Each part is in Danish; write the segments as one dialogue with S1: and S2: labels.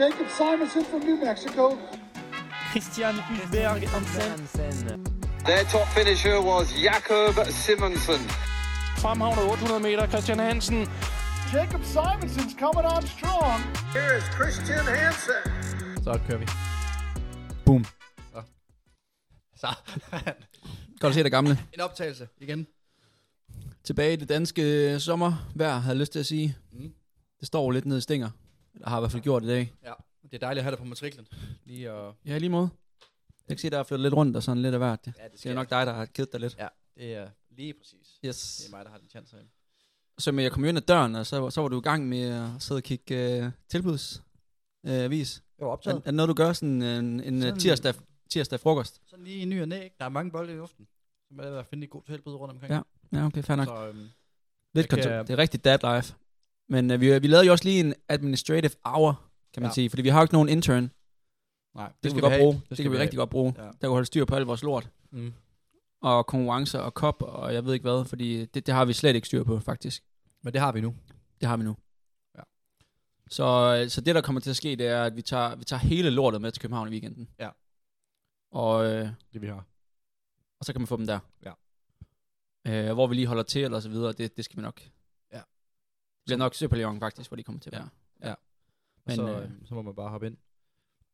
S1: Jacob Simonson from New Mexico.
S2: Christian Hulberg Hansen.
S3: Their top finisher was Jakob Simonsen.
S2: Fremhavner 800 meter, Christian Hansen.
S1: Jacob Simonson's coming on strong.
S3: Here is Christian Hansen.
S4: Så kører vi.
S5: Boom.
S4: Så,
S5: Godt at se dig, gamle.
S4: en optagelse igen.
S5: Tilbage i det danske sommervejr, havde jeg lyst til at sige.
S4: Mm.
S5: Det står jo lidt nede i stinger. Eller har i hvert fald gjort i dag.
S4: Ja, det er dejligt at have dig på matriklen. Lige og...
S5: Ja, lige måde. Jeg kan se, der er flyttet lidt rundt og sådan lidt af hvert.
S4: Ja, det
S5: Det er nok dig, der har kedet dig lidt.
S4: Ja, det er lige præcis. Det
S5: Yes.
S4: er mig, der har den chance herhjemme.
S5: Så men jeg kom jo ind ad døren, og så, så var du i gang med at sidde og kigge øh, tilbuds. Øh, avis.
S4: Jeg var
S5: Er,
S4: optaget.
S5: er, det noget, du gør sådan øh, en, en øh,
S4: Sådan-
S5: tirsdag, tirsdag frokost?
S4: Sådan lige i ny og næ, ikke? Der er mange bolde i luften. Så må jeg være finde et godt tilbud rundt omkring.
S5: Ja, okay, fair nok.
S4: Så, øhm,
S5: Lidt
S4: Jeg kan-
S5: kontor. Det er rigtig dad life. Men øh, vi, vi lavede jo også lige en administrative hour, kan man
S4: Ja.
S5: ja. sige. Fordi vi har jo ikke nogen intern. Det,
S4: nej, det,
S5: det kan vi
S4: skal
S5: godt
S4: have.
S5: bruge. Det,
S4: skal
S5: det kan vi
S4: have.
S5: rigtig godt bruge.
S4: Ja.
S5: der kunne holde styr på alt vores lort,
S4: Mm.
S5: og konkurrencer og kop, og jeg ved ikke hvad, fordi det, det har vi slet ikke styr på, faktisk.
S4: Men det har vi nu.
S5: Det har vi nu.
S4: Ja.
S5: Så, så det, der kommer til at ske, det er, at vi tager, vi tager hele lortet med til København i weekenden.
S4: Ja.
S5: Og, øh,
S4: Det vi har.
S5: og så kan man få dem der.
S4: Ja.
S5: Øh, hvor vi lige holder til, eller så videre, det, det skal vi nok.
S4: Ja.
S5: Det bliver nok Super Lyon, faktisk, hvor de kommer til at
S4: Ja.
S5: være.
S4: Men,
S5: Men,
S4: så,
S5: øh,
S4: øh, så må man bare hoppe ind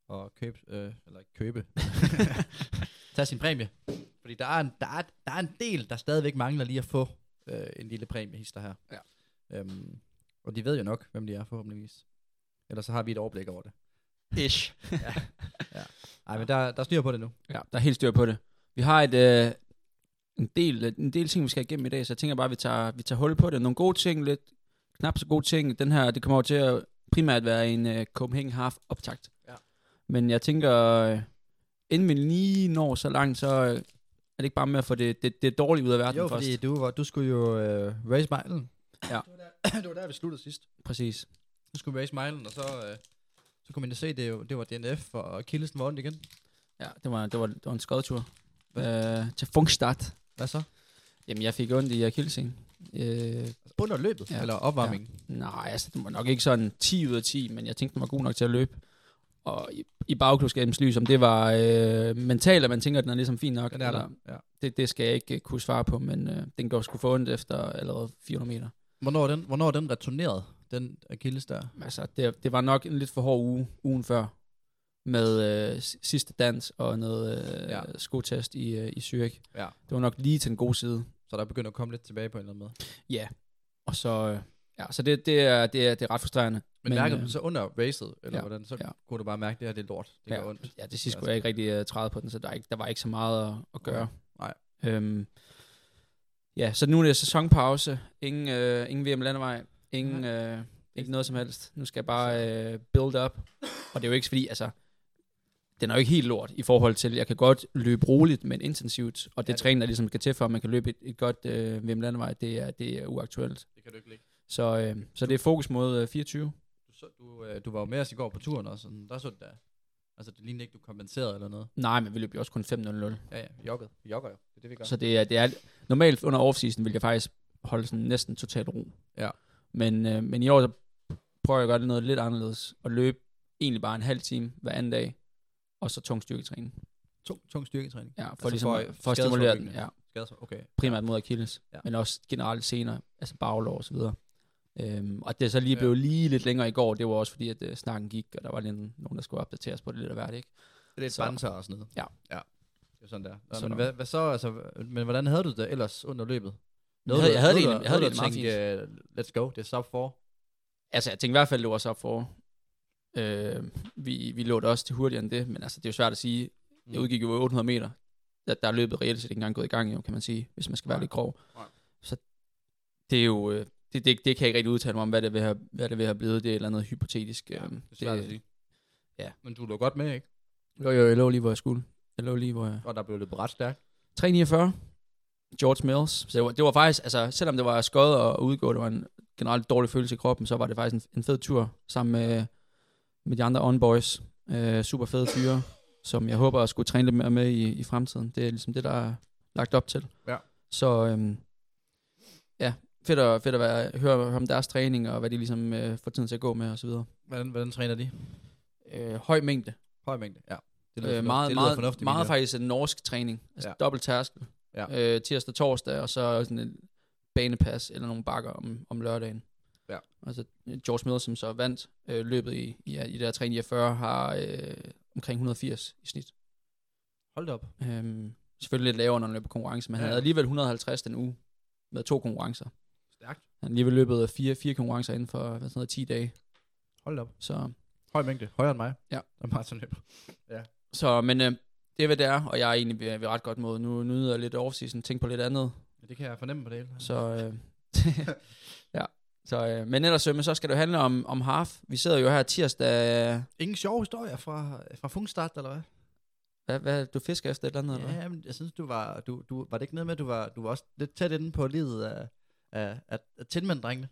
S4: og købe, øh, eller ikke købe, tage sin præmie. Fordi der er, en, der, er, der er en del, der stadigvæk mangler lige at få øh, en lille præmie, hister her.
S5: Ja.
S4: Øhm, og de ved jo nok, hvem de er forhåbentligvis. Ellers så har vi et overblik over det.
S5: Ish.
S4: Nej, men der, der er styr på det nu.
S5: Ja, der er helt styr på det. Vi har et, øh, en, del, en del ting, vi skal igennem i dag, så jeg tænker bare, at vi tager, vi tager hul på det. Nogle gode ting, lidt knap så gode ting. Den her, det kommer jo til at primært være en øh, Copenhagen Half optakt.
S4: Ja.
S5: Men jeg tænker, øh, inden vi lige når så langt, så øh, er det ikke bare med at få det, det, det dårlige ud af verden
S4: Jo,
S5: først.
S4: fordi du, var, du skulle jo øh, raise milen.
S5: Ja.
S4: Det var, der, det var der, vi sluttede sidst.
S5: Præcis.
S4: Du skulle raise milen, og så, øh, så kunne man jo se, det, jo- det var DNF, og Kildesen var ondt igen.
S5: Ja, det var, det var, det var en skodtur. Øh, til Funkstadt.
S4: Hvad så?
S5: Jamen, jeg fik ondt i akillesen. Øh,
S4: Under løbet, ja.
S5: Ja.
S4: eller opvarmningen.
S5: Nej, altså den var nok ikke sådan 10 ud af 10, men jeg tænkte, den var god nok til at løbe. Og i, i bagklodskabens lys, om det var øh, mentalt, at man tænker, at den er ligesom fin nok,
S4: Den er
S5: eller,
S4: der. Ja.
S5: det, det skal jeg ikke øh, kunne svare på, men øh, den går sgu for ondt efter allerede 400 meter.
S4: Hvornår er den, hvornår er den returneret, den Achilles der?
S5: Men Altså, det, det var nok en lidt for hård uge, ugen før, med øh, si- sidste dans og noget øh,
S4: Ja.
S5: ja. skotest i, øh, i Zürich.
S4: Ja.
S5: Det var nok lige til den gode side.
S4: Så der begynder at komme lidt tilbage på en eller anden måde.
S5: Og så, øh, ja, så det, det, er, det, er, det er ret frustrerende.
S4: Men, Men mærker du
S5: øh,
S4: den så under racet, eller
S5: ja,
S4: hvordan, så
S5: ja.
S4: kunne du bare mærke, at det her det er lort, det ja.
S5: Ja.
S4: gør ondt.
S5: Ja, til sidst kunne jeg ikke rigtig uh, træde på den, så der, er ikke, der var ikke så meget at, at gøre.
S4: Nej.
S5: Øhm, ja, så nu er det sæsonpause. Ingen, øh, ingen VM landevej. Ingen, øh, ikke noget som helst. Nu skal jeg bare øh, build up. Og det er jo ikke fordi, altså, den er jo ikke helt lort i forhold til, jeg kan godt løbe roligt, men intensivt. Og det
S4: Ja,
S5: ja,
S4: det-
S5: træning, der ligesom skal til for, at man kan løbe et, et godt øh, VM landevej, det er, det er uaktuelt.
S4: Det kan du ikke lægge.
S5: Så, øh, så det er fokus mod øh, 24.
S4: Du, så, du, øh, du var jo med os i går på turen også, og sådan, der så det der. Altså, det lignede ikke, du kompenserede eller noget.
S5: Nej, men vi løb jo også kun 5.00.
S4: Ja, ja, vi joggede. Vi jogger jo. Det er det, vi gør.
S5: Så det er, det er normalt under offseason vil jeg faktisk holde sådan næsten totalt ro.
S4: Ja.
S5: Men, øh, men i år så prøver jeg at gøre det noget lidt anderledes og løbe egentlig bare en halv time hver anden dag og så tung styrketræning.
S4: tung, tung styrketræning.
S5: Ja, for,
S4: Altså
S5: altså ligesom,
S4: for-
S5: for, for at stimulere den.
S4: skadesforebyggende.
S5: Ja,
S4: Skader, okay.
S5: primært mod Achilles,
S4: Ja.
S5: ja. men også generelt senere, altså baglov og så videre. Øhm, og det er så lige blev lige lidt længere i går, det var også fordi, at øh, snakken gik, og der var lidt nogen, der skulle opdateres på det lidt af hvert, ikke?
S4: Det er lidt
S5: Så-
S4: banter og sådan noget.
S5: Ja.
S4: ja. Det er sådan der. Nå,
S5: Så-
S4: men, hvad, hvad, så, altså, men hvordan havde du det ellers under løbet?
S5: Jeg havde, jeg havde det
S4: du-
S5: egentlig- jeg havde det
S4: nåede
S5: egentlig meget
S4: du
S5: fint.
S4: at tænke, øh, Let's go, det er sub 4.
S5: Altså, jeg tænkte i hvert fald, det var så for. Øh, vi, vi lå det også til hurtigere end det, men altså, det er jo svært at sige.
S4: Mm.
S5: Jeg udgik jo 800 meter. Der, der er løbet reelt set ikke engang gået i gang, jo, kan man sige, hvis man skal være
S4: Nej.
S5: lidt grov.
S4: Nej.
S5: Så det er jo... øh, Det, det, det kan jeg ikke rigtig udtale mig om, hvad det vil have, hvad det vil have blevet. Det er et eller andet hypotetisk.
S4: Ja,
S5: øhm,
S4: det er svært at sige.
S5: ja.
S4: Men du lå godt med, ikke?
S5: Jo, jo, jeg lå lige, hvor jeg skulle. Jeg lå lige, hvor jeg...
S4: Og der blev løbet ret stærkt.
S5: 349. George Mills. Så det var, det var faktisk, altså selvom det var skød og udgå, det var en generelt dårlig følelse i kroppen, så var det faktisk en, en fed tur sammen med, med de andre on boys. Øh, super fede fyre, som jeg håber at skulle træne lidt mere med i, i fremtiden. Det er ligesom det, der er lagt op til.
S4: Ja.
S5: Så øhm, ja, fedt at, fedt at være, høre, høre om deres træning og hvad de ligesom øh, får tiden til at gå med osv.
S4: Hvordan, hvordan træner de?
S5: øh, høj mængde.
S4: Høj mængde, ja. Det lyder
S5: Øh,
S4: fornuft-
S5: meget,
S4: det lyder
S5: meget,
S4: fornuftigt,
S5: meget
S4: Michael.
S5: faktisk en norsk træning. Altså
S4: Ja.
S5: ja. dobbelt tærskel.
S4: Ja.
S5: Ja. Øh, tirsdag, torsdag, og så sådan et banepas eller nogle bakker om, om lørdagen.
S4: Ja.
S5: Altså George Miller, som så vandt øh, løbet i, i, i det der 349, har øh, omkring 180 i snit.
S4: Hold da op.
S5: Øhm, selvfølgelig lidt lavere, når han løber konkurrence, men ja.
S4: Ja.
S5: han havde alligevel 150 den uge med to konkurrencer.
S4: Stærkt.
S5: Han har alligevel løbet fire, fire konkurrencer inden for hvad, sådan noget, 10 dage.
S4: Hold da op.
S5: Så,
S4: Høj mængde. Højere end mig.
S5: Ja.
S4: Og Martin løber.
S5: så men øh, det er, hvad det er, og jeg er egentlig ved, ved ret godt mod. Nu nu nyder jeg lidt off-season, tænk på lidt andet.
S4: Ja, det kan jeg fornemme på det hele.
S5: Så, øh, ja. Så, øh, men ellers, øh, men så skal det jo handle om, om half. Vi sidder jo her tirsdag.
S4: Ingen sjove historier fra, fra Funkstart, eller hvad?
S5: Hvad, hvad du fisker efter et eller andet? Eller? hvad?
S4: Ja, men jeg synes, du var... Du, du, var det ikke noget med, at du var, du var også lidt tæt inde på livet af, af, af, af tindmænd-drengene?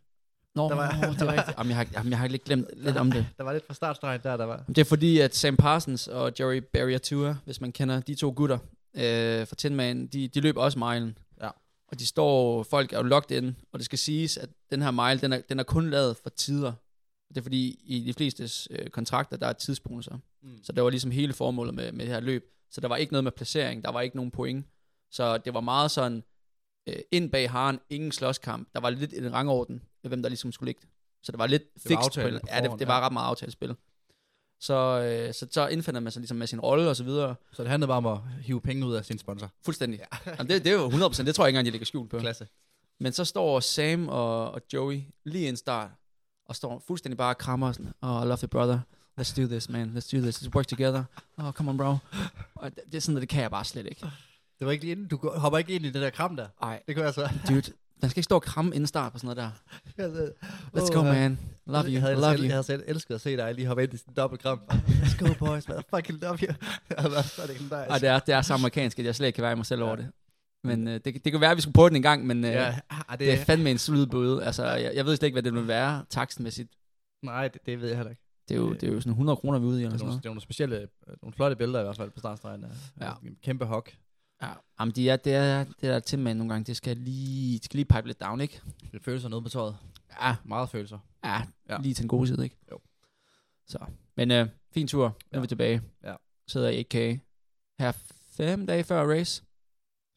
S5: Nå,
S4: Der
S5: der
S4: var-
S5: var, det
S4: der var-
S5: er rigtigt. Jamen, jeg har, jamen, jeg har lidt glemt lidt om det.
S4: Der var lidt fra startstregen der, der var...
S5: Det er fordi, at Sam Parsons og Jerry Barriatua, hvis man kender de to gutter øh, fra Tin Man, de, de løber også milen.
S4: Ja.
S5: Og de står, folk er jo locked in, og det skal siges, at den her mile, den er, den er kun lavet for tider. Det er fordi, i de fleste øh, kontrakter, der er tidsbonusser.
S4: Mm.
S5: Så det var ligesom hele formålet med, med det her løb. Så der var ikke noget med placering, der var ikke nogen point. Så det var meget sådan, øh, ind bag haren, ingen slåskamp. Der var lidt en rangorden, med hvem der ligesom skulle ligge. Så det var lidt
S4: var
S5: fixed. på
S4: aftalt
S5: en-
S4: på
S5: ja, det,
S4: forhånd,
S5: det
S4: ja.
S5: var ret meget aftalespil. Så, øh, så, så indfinder man sig ligesom med sin rolle og så videre.
S4: Så det handlede bare om at hive penge ud af sin sponsor.
S5: Fuldstændig. Ja. Jamen, det, det er jo 100%, det tror jeg ikke engang, de ligger skjult på.
S4: Klasse.
S5: Men så står Sam og, og Joey lige i en start, og står fuldstændig bare og krammer sådan, oh, I love you, brother. Let's do this, man. Let's do this. Let's work together. Oh, come on, bro. Og det, det er sådan, at det kan jeg bare slet ikke.
S4: Det var ikke lige inden. Du går- hopper ikke ind i det der kram der.
S5: Ej,
S4: Det kunne jeg så.
S5: dude. Man skal ikke stå og kramme inden start på sådan noget der.
S4: Jeg så-
S5: Let's
S4: Åh,
S5: go,
S4: ja.
S5: man. Love you.
S4: Jeg havde,
S5: love
S4: selv, jeg
S5: you.
S4: havde selv elsket at se dig lige hoppe ind i sådan en dobbelt kram. Let's go, boys. Man. Fucking love you. Det havde været så legendarisk.
S5: Og det er, det er så amerikansk, at jeg slet ikke kan være i mig selv over det. Men øh, det, det kan være, at vi skulle prøve den en gang, men øh,
S4: Ja, ah, det,
S5: det er fandme en solid bøde. Altså, jeg, jeg ved slet ikke, hvad det vil være takstenmæssigt.
S4: nej, det, det ved jeg heller ikke.
S5: Det er jo, det er jo sådan 100 kroner, vi er ude i. Eller
S4: Det er,
S5: sådan
S4: nogle,
S5: noget.
S4: det er nogle specielle, øh, nogle flotte billeder i hvert fald på startstregen. Ja.
S5: Ja.
S4: Kæmpe hok.
S5: Ja, jamen de er, det er, det er til nogle gange, det skal lige, det skal lige pipe lidt down, ikke?
S4: Det følelser nede på tøjet.
S5: Ja,
S4: Meget følelser.
S5: ja,
S4: Ja.
S5: ja. lige til den gode side, ikke?
S4: Jo.
S5: Så, men øh, fin tur, nu
S4: Ja.
S5: er vi tilbage.
S4: Ja.
S5: Sidder i 1K her fem dage før race,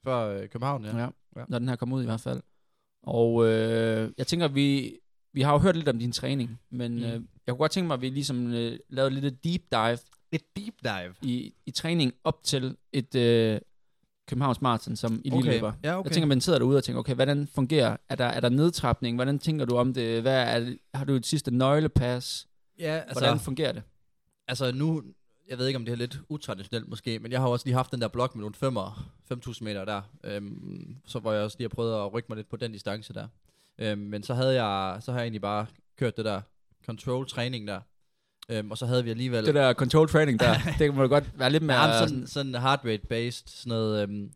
S4: Før øh, København, ja.
S5: ja.
S4: Ja.
S5: Ja. når den her kommer ud i hvert fald. Og øh, jeg tænker, vi, vi har jo hørt lidt om din træning, men
S4: Mm.
S5: øh, jeg kunne godt tænke mig, at vi ligesom øh, lavede lidt et deep dive
S4: Et deep dive.
S5: i, i træning op til et øh, Københavns Marathon, som I lige
S4: Okay.
S5: løber.
S4: Ja,
S5: Okay.
S4: okay.
S5: Jeg tænker, man sidder derude og tænker, okay, hvordan fungerer? Er der, er der nedtrapning? Hvordan tænker du om det? Hvad er, har du et sidste nøglepas?
S4: ja,
S5: Altså, hvordan fungerer det?
S4: altså nu, jeg ved ikke om det er lidt utraditionelt måske, men jeg har jo også lige haft den der blok med nogle femmer, 5.000 meter der, øhm, så hvor jeg også lige har prøvet at rykke mig lidt på den distance der. Øhm, men så havde jeg, så har jeg egentlig bare kørt det der control træning der, øhm, og så havde vi alligevel...
S5: Det der control training der, det må godt være lidt mere...
S4: Ja, men sådan, sådan heart rate based, sådan noget, øhm,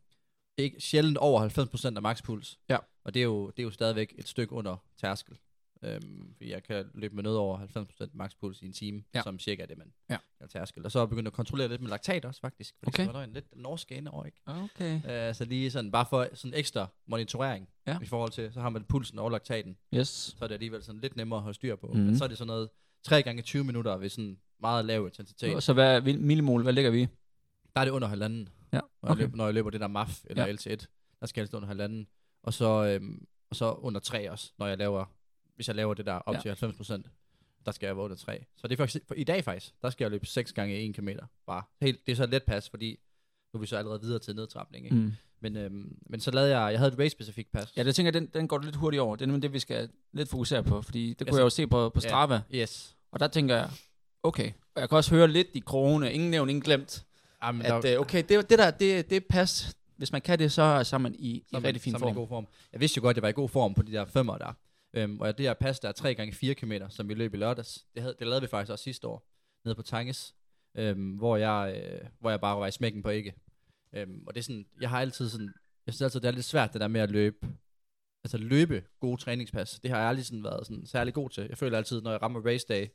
S4: ikke, sjældent over 90% af makspuls.
S5: Ja.
S4: Og det er, jo, det er jo stadigvæk et stykke under tærskel. Øhm, fordi jeg kan løbe med noget over 90% makspuls i en time, ja.
S5: Ja.
S4: som cirka er det, man
S5: Ja.
S4: er tærskel. Og så er jeg begyndt at kontrollere lidt med laktat også, faktisk. Fordi
S5: Okay.
S4: så var der en lidt norsk ind over, ikke?
S5: Okay.
S4: Øh, så lige sådan, bare for sådan ekstra monitorering
S5: Ja.
S4: i forhold til, så har man pulsen over laktaten,
S5: Yes.
S4: så er det alligevel sådan lidt nemmere at holde styr på. Mm.
S5: Mhm.
S4: Men så er det sådan noget 3 gange 20 minutter ved sådan meget lav intensitet.
S5: Så hvad, hvil- millimol, hvad ligger vi i?
S4: Der er det under halvanden.
S5: Ja,
S4: Når, okay.
S5: okay.
S4: jeg løber, når jeg løber det der MAF eller ja.
S5: Ja.
S4: LT1, der skal jeg helst under halvanden. Og så, øhm, og så under tre også, når jeg laver, hvis jeg laver det der op ja.
S5: Ja.
S4: til 90 procent, der skal jeg være under tre. Så det er faktisk, for i dag faktisk, der skal jeg løbe 6 gange 1 km. Bare. Helt, det er så et let pas, fordi nu er vi så allerede videre til nedtrapning. Ikke? Mm.
S5: Mm.
S4: Men, øhm, men så lavede jeg, jeg havde et race-specifikt pas.
S5: Ja, det tænker jeg, den, den går du lidt hurtigt over. Det er nemlig det, vi skal lidt fokusere på, fordi det kunne
S4: Altså-
S5: jeg jo se på, på
S4: Ja.
S5: Strava.
S4: Yes.
S5: Og der tænker jeg, okay. Og jeg kan også høre lidt i krogene, ingen nævnt, ingen glemt,
S4: Jamen,
S5: at øh, okay, det, det der, det, det er pas. Hvis man kan det, så, så er man i, i rigtig fin
S4: så er man
S5: form.
S4: i god form. Jeg vidste jo godt, at jeg var i god form på de der femmer der. Øhm, og det der pas, der er 3 gange 4 km, som vi løb i lørdags, det, havde, det lavede vi faktisk også sidste år, nede på Tanges, øhm, hvor, jeg, øh, hvor jeg bare var i smækken på ikke. Øhm, og det er sådan, jeg har altid sådan, jeg synes altid, det er lidt svært det der med at løbe, altså løbe gode træningspas. Det har jeg aldrig sådan været sådan særlig god til. Jeg føler altid, når jeg rammer race day,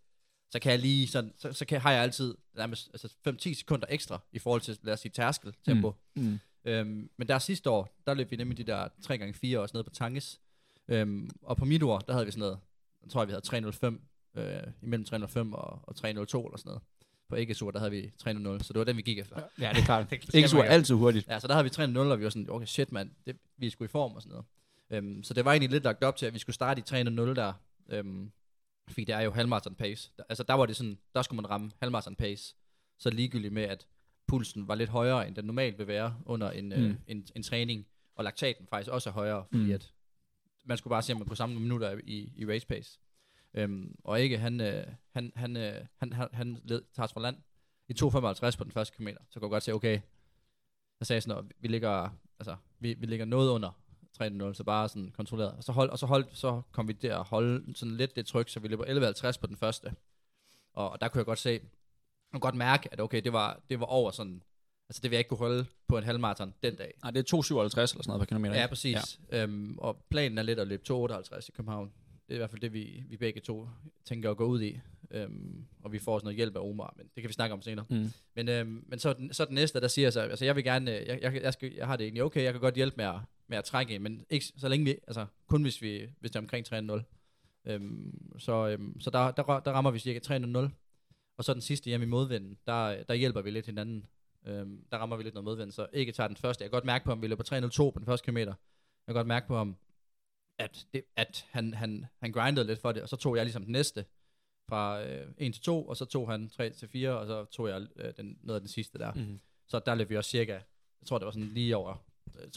S4: så kan jeg lige sådan, så, så kan, har jeg altid nærmest altså 5-10 sekunder ekstra i forhold til, lad os sige, tærskel, tempo. Mm.
S5: Mm.
S4: Øhm, men der sidste år, der løb vi nemlig de der 3x4 også nede på Tanges. Øhm, og på mit ord, der havde vi sådan noget, jeg tror, vi havde 305, øh, imellem 305 og, og 302 eller sådan noget. På Æggesur, der havde vi 3-0, så det var den, vi gik efter.
S5: Ja, det er klart.
S4: Det skal
S5: Ikke sur
S4: man gøre.
S5: altid hurtigt.
S4: Ja, så der havde vi 3-0, og vi var sådan, okay, shit mand, det, vi er sgu i form og sådan noget. Øhm, så det var egentlig lidt lagt op til, at vi skulle starte i 3-0 der, øhm, fordi det er jo halvmarathon pace. Der, altså der var det sådan, der skulle man ramme halvmarathon pace, så ligegyldigt med, at pulsen var lidt højere, end den normalt vil være under en, mm. øh,
S5: Mm.
S4: en, en træning, og laktaten faktisk også er højere, fordi
S5: Mm.
S4: mm. at man skulle bare se, om man kunne samle nogle minutter i, i race pace. Øhm, og ikke, han, øh, han, han, øh, han, han, han led, tager os fra land i 2,55 på den første kilometer. Så kunne jeg godt se, okay, der sagde jeg sådan, at vi ligger, altså, vi, vi ligger noget under 3-0, så bare sådan kontrolleret. Og så, hold, og så, hold, så kom vi der at holde sådan lidt det tryk, så vi løber 11.50 på den første. Og, og der kunne jeg godt se, jeg kunne godt mærke, at okay, det var, det var over sådan, altså det vil jeg ikke kunne holde på en halvmarathon den dag.
S5: Nej, det er 2,57 eller sådan noget per kilometer.
S4: Ja,
S5: ikke?
S4: præcis. Ja. Øhm, og planen er lidt at løbe 2,58 i København. Det er i hvert fald det, vi, vi begge to tænker at gå ud i. Øhm, og vi får sådan noget hjælp af Omar, men det kan vi snakke om senere.
S5: Mm.
S4: Men, øhm, men så, den, så den næste, der siger så, altså jeg vil gerne, øh, jeg, jeg, jeg, skal, jeg har det egentlig okay, jeg kan godt hjælpe med at, med at trække, men ikke, så længe vi, altså kun hvis, vi, hvis det er omkring 3-0. Øhm, så øhm, så der, der, rør- der rammer vi cirka 3-0. Og så den sidste hjemme i modvinden, der, øh, der hjælper vi lidt hinanden. Øhm, der rammer vi lidt noget modvind, så ikke tager den første. Jeg kan godt mærke på ham, vi løber 3-0-2 på den første kilometer. Jeg kan godt mærke på ham, at, det, at han, han, han grindede lidt for det, og så tog jeg ligesom den næste fra øh, 1 til 2, og så tog han 3 til 4, og så tog jeg øh, den, noget af den sidste der.
S5: Mhm.
S4: Mm. Så der løb vi også cirka, jeg tror det var sådan lige over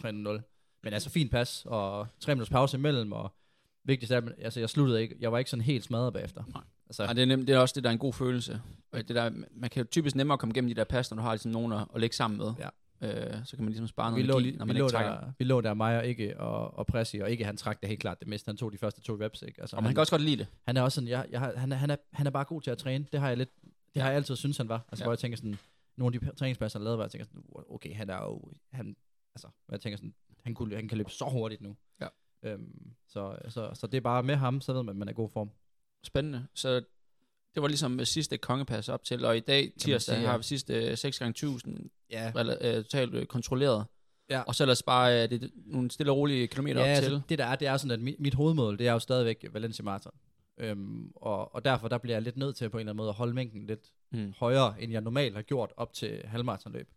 S4: øh, 3-0. Men altså fint pas, og 3 minutters pause imellem, og vigtigst af, alt, altså jeg sluttede ikke, jeg var ikke sådan helt smadret bagefter.
S5: Nej.
S4: Altså,
S5: Ja, det er, nemt, det er også det, der er en god følelse. Og Det der, man kan jo typisk nemmere komme igennem de der pas, når du har ligesom nogen at, at lægge sammen med.
S4: Ja.
S5: Øh, så kan man ligesom
S4: vi
S5: spare noget
S4: lå,
S5: energi,
S4: lige-
S5: når
S4: vi,
S5: man
S4: lå
S5: ikke trækker.
S4: der, vi lå der, mig og ikke og, og Pressi, og ikke han trak det helt klart det meste. Han tog de første to reps, ikke? Altså,
S5: Og man kan også godt lide det.
S4: han er også sådan, jeg, jeg har, han, er, han, er, han er bare god til at træne. Det har jeg lidt, det har jeg altid synes han var. Altså,
S5: Ja.
S4: ja. hvor jeg tænker sådan, nogle af de træningspladser, han lavede, var, jeg tænker sådan, "Wow, okay, han er jo, han, altså, hvor jeg tænker sådan, han, kunne, han kan løbe så hurtigt nu.
S5: Ja.
S4: Øhm, så, så, så det er bare med ham, så ved man, at man er i god form.
S5: Spændende. Så det var ligesom øh, sidste kongepas op til, og i dag, tirsdag,
S4: sige, ja.
S5: har vi sidste øh, 6x1000
S4: Ja,
S5: rela- øh, totalt øh, kontrolleret.
S4: Ja.
S5: Og så ellers bare øh, det er nogle stille og rolige kilometer
S4: ja,
S5: op
S4: altså,
S5: til.
S4: det der er, det er sådan, at mit, mit hovedmål, det er jo stadigvæk Valencia Marathon. Øhm, og, og derfor der bliver jeg lidt nødt til på en eller anden måde at holde mængden lidt
S5: Mm.
S4: højere, end jeg normalt har gjort op til halvmaratonløb.